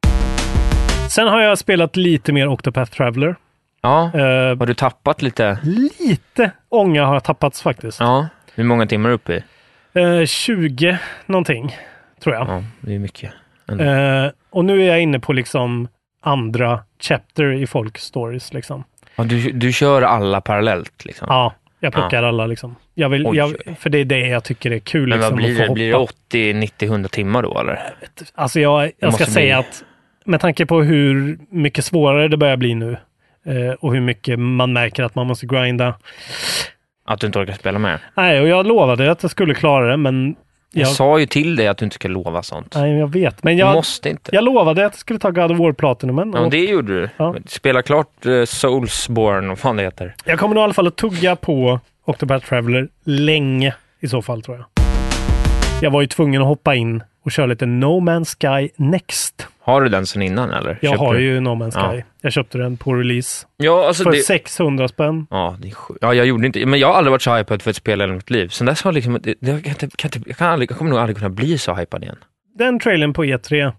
G: Sen har jag spelat lite mer Octopath Traveler. Eh,
H: Ja, har du tappat lite?
G: Lite ånga har jag tappats faktiskt.
H: Ja, hur många timmar är du uppe i?
G: Eh, 20 någonting, tror jag.
H: Ja, det är mycket. ändå.
G: Eh, och nu är jag inne på liksom andra chapter i folk stories liksom.
H: Ja, du, du kör alla parallellt liksom?
G: Ja, jag plockar
H: Ja.
G: alla liksom. Jag vill,
H: Oj.
G: jag, för det är det jag tycker är kul.
H: Men
G: liksom,
H: vad
G: att
H: blir
G: få
H: det?
G: hoppa.
H: Blir det 80, 90, 100 timmar då eller?
G: Alltså jag, jag ska
H: måste
G: säga
H: bli-
G: att med tanke på hur mycket svårare det börjar bli nu eh, och hur mycket man märker att man måste grinda.
H: Att du inte orkar spela med?
G: Nej, och jag lovade att jag skulle klara det, men
H: Jag,
G: jag,
H: sa ju till dig att du inte ska lova sånt.
G: nej, jag vet. Men jag,
H: Måste inte.
G: jag lovade att jag skulle ta God of War Platinumen.
H: Ja,
G: och
H: men det gjorde du. Spela klart eh, Soulsborne, vad fan det heter.
G: Jag kommer nog i alla fall att tugga på Octopath Traveler länge i så fall, tror jag. Jag var ju tvungen att hoppa in och köra lite No Man's Sky Next.
H: Har du den sen innan eller?
G: Jag
H: Köper
G: har
H: du?
G: ju No Man's
H: Ja.
G: Sky. Jag köpte den på release.
H: Ja, alltså
G: för
H: det-
G: 600 spänn.
H: Ja, det är sjukt. Ja, jag gjorde inte, men jag har aldrig varit så hypad för ett spel i hela mitt liv. Sen dess har liksom, det, det, jag, kan inte, kan inte, jag, kan aldrig, jag kommer nog aldrig kunna bli så hypad igen.
G: Den trailern på E3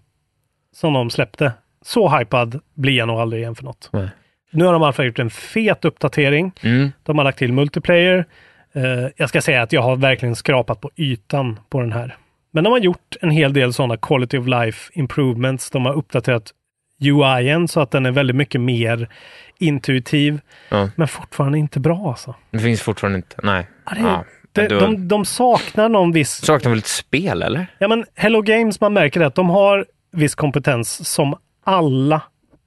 G: som de släppte. Så hypad blir jag nog aldrig igen för något.
H: Nej.
G: Nu har de i alla fall gjort en fet uppdatering.
H: Mm.
G: De har lagt till multiplayer. Eh, jag ska säga att jag har verkligen skrapat på ytan på den här. Men de har gjort en hel del sådana quality of life improvements. De har uppdaterat UIen så att den är väldigt mycket mer intuitiv.
H: Ja.
G: Men fortfarande inte bra alltså.
H: Det finns fortfarande inte, nej.
G: Ja, det,
H: ja,
G: det,
H: du,
G: de, de saknar någon viss...
H: Saknar väl ett spel eller?
G: Ja, men Hello Games, man märker att de har viss kompetens som alla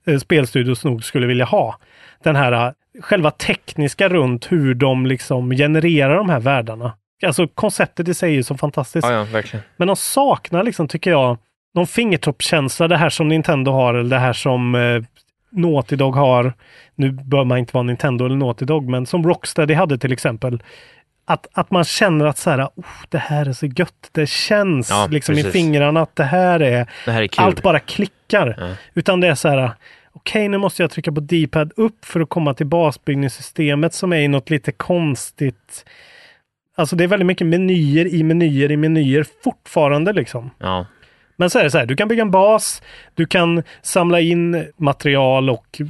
G: eh, spelstudios nog skulle vilja ha. Den här eh, själva tekniska runt hur de liksom genererar de här världarna. Alltså konceptet i sig är ju så fantastiskt.
H: Ja, ja, verkligen.
G: Men de saknar liksom, tycker jag, någon fingertoppskänsla. Det här som Nintendo har eller det här som eh, Naughty Dog har. Nu bör man inte vara Nintendo eller Naughty Dog, men som Rocksteady hade till exempel. Att, att man känner att så här, oh, det här är så gött. Det känns
H: Ja,
G: liksom i
H: precis.
G: fingrarna att det här är,
H: Det här är kul.
G: allt bara klickar.
H: Ja.
G: Utan det är så här, okej nu måste jag trycka på D-pad upp för att komma till basbyggningssystemet som är i något lite konstigt. Alltså det är väldigt mycket menyer i menyer i menyer fortfarande liksom.
H: Ja.
G: Men så är det så här, du kan bygga en bas, du kan samla in material och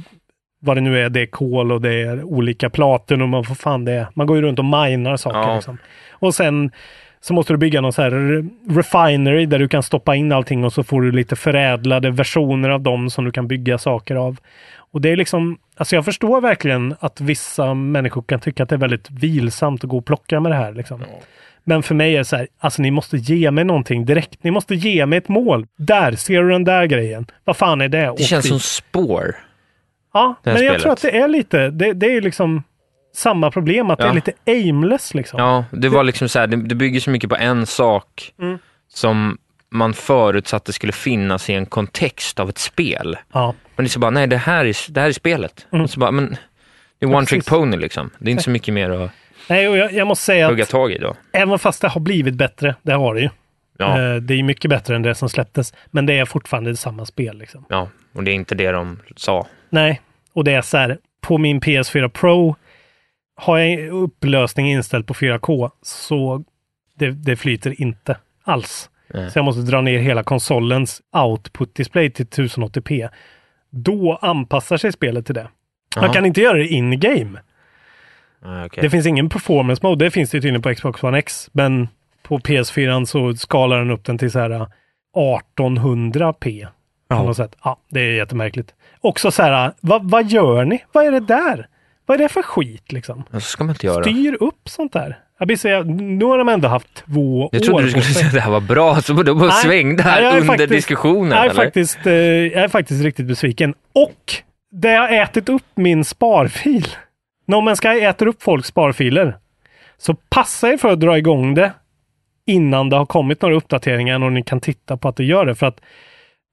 G: vad det nu är, det är kol och det är olika platinum och vad fan det är. Man går ju runt och minar saker.
H: Ja.
G: Liksom. Och sen så måste du bygga någon så här re- refinery där du kan stoppa in allting och så får du lite förädlade versioner av dem som du kan bygga saker av. Och det är liksom, alltså jag förstår verkligen att vissa människor kan tycka att det är väldigt vilsamt att gå och plocka med det här. Liksom. Men för mig är det så här, alltså ni måste ge mig någonting direkt. Ni måste ge mig ett mål. Där, ser du den där grejen? Vad fan är det?
H: Det
G: Åk
H: känns
G: dit.
H: som spår.
G: Ja,
H: det
G: men
H: här
G: jag
H: spelet.
G: tror att det är lite, det, det är ju liksom samma problem, att det
H: Ja.
G: är lite aimless liksom.
H: Ja, det var liksom så här, det, det bygger så mycket på en sak
G: Mm.
H: som man förutsatte skulle finnas i en kontext av ett spel.
G: Ja.
H: Men det är så bara, nej det här är, det här är spelet. Och så bara, men det är
G: Mm. Ja,
H: one trick
G: precis.
H: pony liksom. Det är inte så mycket mer att
G: Nej, och jag, jag måste säga
H: hugga
G: att
H: tag i då.
G: även fast det har blivit bättre, det har det ju.
H: Ja.
G: Eh, Det är mycket bättre än det som släpptes, men det är fortfarande samma spel liksom.
H: Ja, och det är inte det de sa.
G: Nej, och det är så här, på min PS4 Pro har jag upplösning inställd på 4K så det, det flyter inte alls.
H: Nej.
G: Så jag måste dra ner hela konsolens output-display till 1080p. Då anpassar sig spelet till det. Man
H: Jaha.
G: kan inte göra det in-game.
H: Ah,
G: Det finns ingen performance mode, det finns det ju tydligen på Xbox One X, men på PS4 så skalar den upp den till så här 1800p. På
H: Ja.
G: något sätt. Ja, det är jättemärkligt. Också så här, vad, vad gör ni? Vad är det där? Vad är det för skit liksom?
H: Så ska man inte göra.
G: Styr upp sånt där. Jag vill säga, nu har de ändå haft två
H: Jag trodde
G: år
H: du
G: på
H: skulle
G: sig.
H: säga att det här var bra, så du bara
G: Nej,
H: svängde
G: nej, jag
H: här
G: är
H: under
G: faktiskt-
H: diskussionen.
G: Jag är,
H: eller?
G: faktiskt, eh, jag är faktiskt riktigt besviken. Och det har ätit upp min sparfil. No Man's Sky äter upp folks sparfiler. Så passa er för att dra igång det innan det har kommit några uppdateringar och ni kan titta på att det gör det. För att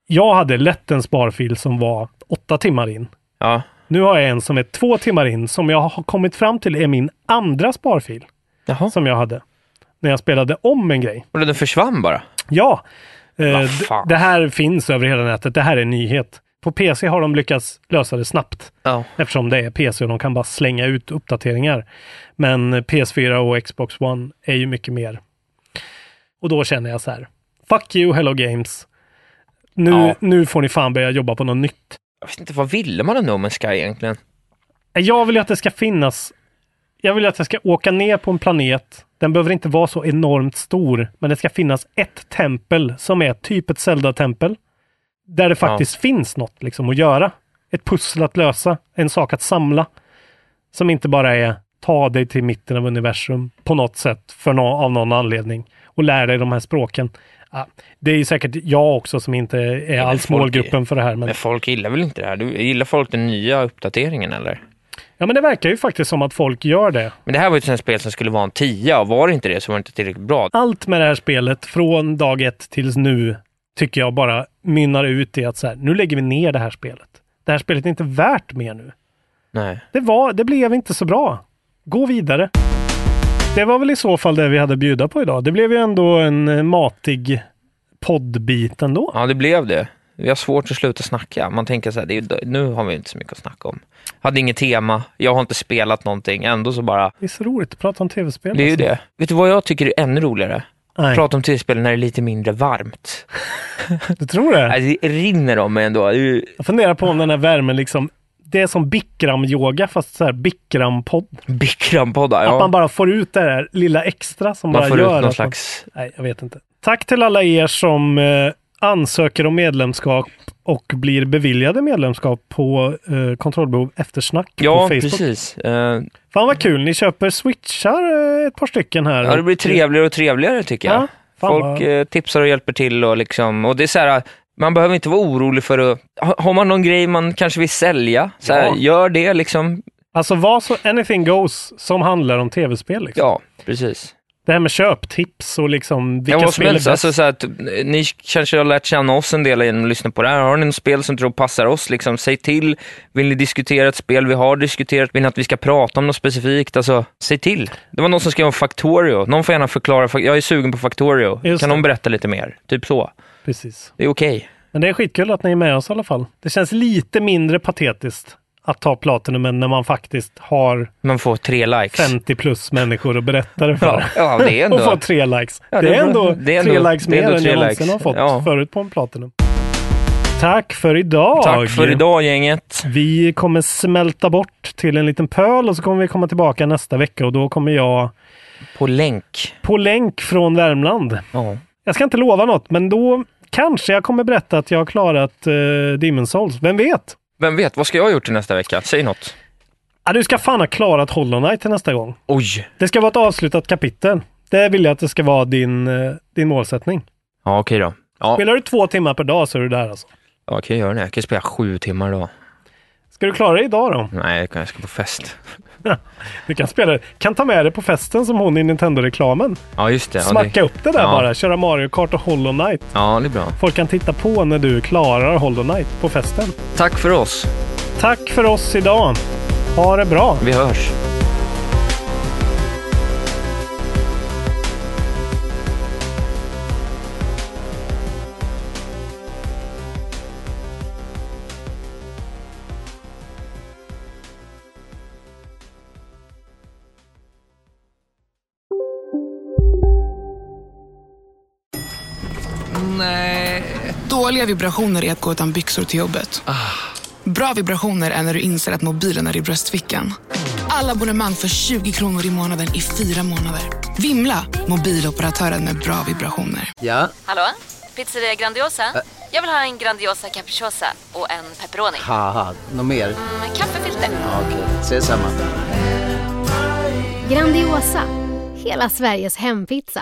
G: jag hade lätt en sparfil som var åtta timmar in.
H: Ja.
G: Nu har jag en som är två timmar in som jag har kommit fram till är min andra sparfil. Som jag hade. När jag spelade om en grej.
H: Och den försvann bara?
G: Ja. Eh,
H: Vad
G: d-
H: fan.
G: det här finns över hela nätet. Det här är en nyhet. På PC har de lyckats lösa det snabbt. Eftersom det är PC och de kan bara slänga ut uppdateringar. Men eh, PS4 och Xbox One är ju mycket mer. Och då känner jag så här. Fuck you Hello Games. Nu,
H: Ja.
G: nu får ni fan börja jobba på något nytt.
H: Jag vet inte, vad ville man ändå med Sky egentligen?
G: Jag vill ju att det ska finnas. Jag vill att jag ska åka ner på en planet. Den behöver inte vara så enormt stor, men det ska finnas ett tempel som är typ ett Zelda-tempel. Där det faktiskt finns något liksom att göra. Ett pussel att lösa, en sak att samla. Som inte bara är ta dig till mitten av universum på något sätt för nå av någon anledning och lära dig de här språken. Ja, det är ju säkert jag också som inte är alls
H: folk är-
G: målgruppen för det här. Men...
H: Men folk gillar väl inte det här? Du, gillar folk den nya uppdateringen eller?
G: Ja, men det verkar ju faktiskt som att folk gör det.
H: Men det här var ju ett sånt här spel som skulle vara en 10 och var det inte det så var det inte tillräckligt bra.
G: Allt med det här spelet från dag ett tills nu tycker jag bara mynnar ut i att så här, nu lägger vi ner det här spelet. Det här spelet är inte värt mer nu.
H: Nej.
G: Det, var, det blev inte så bra. Gå vidare. Det var väl i så fall det vi hade att bjuda på idag. Det blev ju ändå en eh, matig poddbit ändå.
H: Ja, det blev det. Vi har svårt att sluta snacka. Man tänker så här, det är, ju- nu har vi inte så mycket att snacka om. Hade inget tema, jag har inte spelat någonting, ändå så bara
G: Det är så roligt att prata om tv-spel.
H: Det är ju
G: alltså.
H: det. Vet du vad jag tycker är ännu roligare?
G: Nej.
H: Prata om tv-spel när det är lite mindre varmt.
G: Du tror det?
H: Nej, det rinner om mig ändå. Det är ju
G: Jag funderar på om den här värmen liksom, det är som Bikram-yoga fast så här Bikram-podd.
H: Bikram-poddar, ja.
G: Att man bara får ut det där lilla extra som
H: Man
G: bara
H: får ut
G: gör
H: någon
G: att man-
H: slags-
G: Nej, jag vet inte. Tack till alla er som eh, ansöker om medlemskap och blir beviljade medlemskap på eh, Kontrollbehov Eftersnack på
H: Ja,
G: Facebook.
H: precis. Eh,
G: Fan vad kul, ni köper switchar eh, ett par stycken här.
H: Ja, det blir
G: Och-
H: trevligare och trevligare tycker jag.
G: Ja, fan
H: Folk
G: vad-
H: eh, tipsar och hjälper till och liksom, och det är så här, man behöver inte vara orolig för att, ha- har man någon grej man kanske vill sälja, så här,
G: Ja.
H: gör det liksom.
G: Alltså vad så anything goes som handlar om tv-spel. Liksom.
H: Ja, precis.
G: Det här med köptips och liksom vilka
H: ja, vad som
G: spel är
H: helst.
G: bäst.
H: Alltså, så här, att, eh, ni kanske har lärt känna oss en del genom att lyssna på det här. Har ni något spel som tror passar oss, liksom, säg till. Vill ni diskutera ett spel vi har diskuterat? Vill ni att vi ska prata om något specifikt? Alltså, säg till. Det var någon som skrev om Factorio. Någon får gärna förklara. fa- Jag är sugen på Factorio.
G: Just
H: kan
G: det.
H: någon berätta lite mer? Typ så.
G: Precis.
H: Det är okej.
G: Men det är skitkul att ni är med oss i alla fall. Det känns lite mindre patetiskt att ta Platinum än när man faktiskt har
H: Man får tre likes.
G: 50 plus människor och berättar det för.
H: Ja, ja, det
G: <laughs>
H: är ändå-
G: och får tre likes.
H: Ja,
G: det,
H: det är
G: är ändå
H: bra. Det är
G: tre
H: ändå-
G: likes
H: det är
G: mer
H: ändå
G: än
H: tre
G: jag
H: likes.
G: någonsin har fått
H: Ja.
G: förut på en Platinum. Tack för idag!
H: Tack för idag gänget.
G: Vi kommer smälta bort till en liten pöl och så kommer vi komma tillbaka nästa vecka och då kommer jag
H: På länk.
G: på länk från Värmland.
H: Ja.
G: Jag ska inte lova något, men då kanske jag kommer berätta att jag har klarat uh, Demon Souls. Vem vet?
H: Vem vet, vad ska jag ha gjort till nästa vecka? Säg något.
G: Ja, du ska fan ha klarat Hollow Knight till nästa gång.
H: Oj.
G: Det ska vara ett avslutat kapitel. Det vill jag att det ska vara din, eh, din målsättning.
H: Ja, okej då. Ja,
G: Spelar du två timmar per dag så är du där alltså.
H: ja kan jag göra det. Jag kan spela sju timmar då.
G: Ska du klara det idag då?
H: Nej, jag kan- jag ska på fest.
G: Du kan spela det. Kan ta med det på festen som hon i Nintendo-reklamen.
H: Ja, just det. Ja,
G: Smacka
H: det...
G: upp det där
H: ja.
G: bara. Köra Mario Kart och Hollow Knight.
H: Ja, det är bra.
G: Folk kan titta på när du klarar Hollow Knight på festen.
H: Tack för oss.
G: Tack för oss idag. Ha det bra.
H: Vi hörs.
J: Nej. Dåliga vibrationer är att gå utan byxor till jobbet. Bra vibrationer är när du inser att mobilen är i bröstfickan. Alla abonnemang för 20 kronor i månaden i fyra månader. Vimla! Mobiloperatören med bra vibrationer.
K: Ja,
L: Hallå? Pizzeria Grandiosa? Jag vill ha en Grandiosa capriciosa och en pepperoni.
K: haha, något mer?
L: Med kaffefilter.
K: Ja, Okej, ses samma.
M: Grandiosa, hela Sveriges hempizza.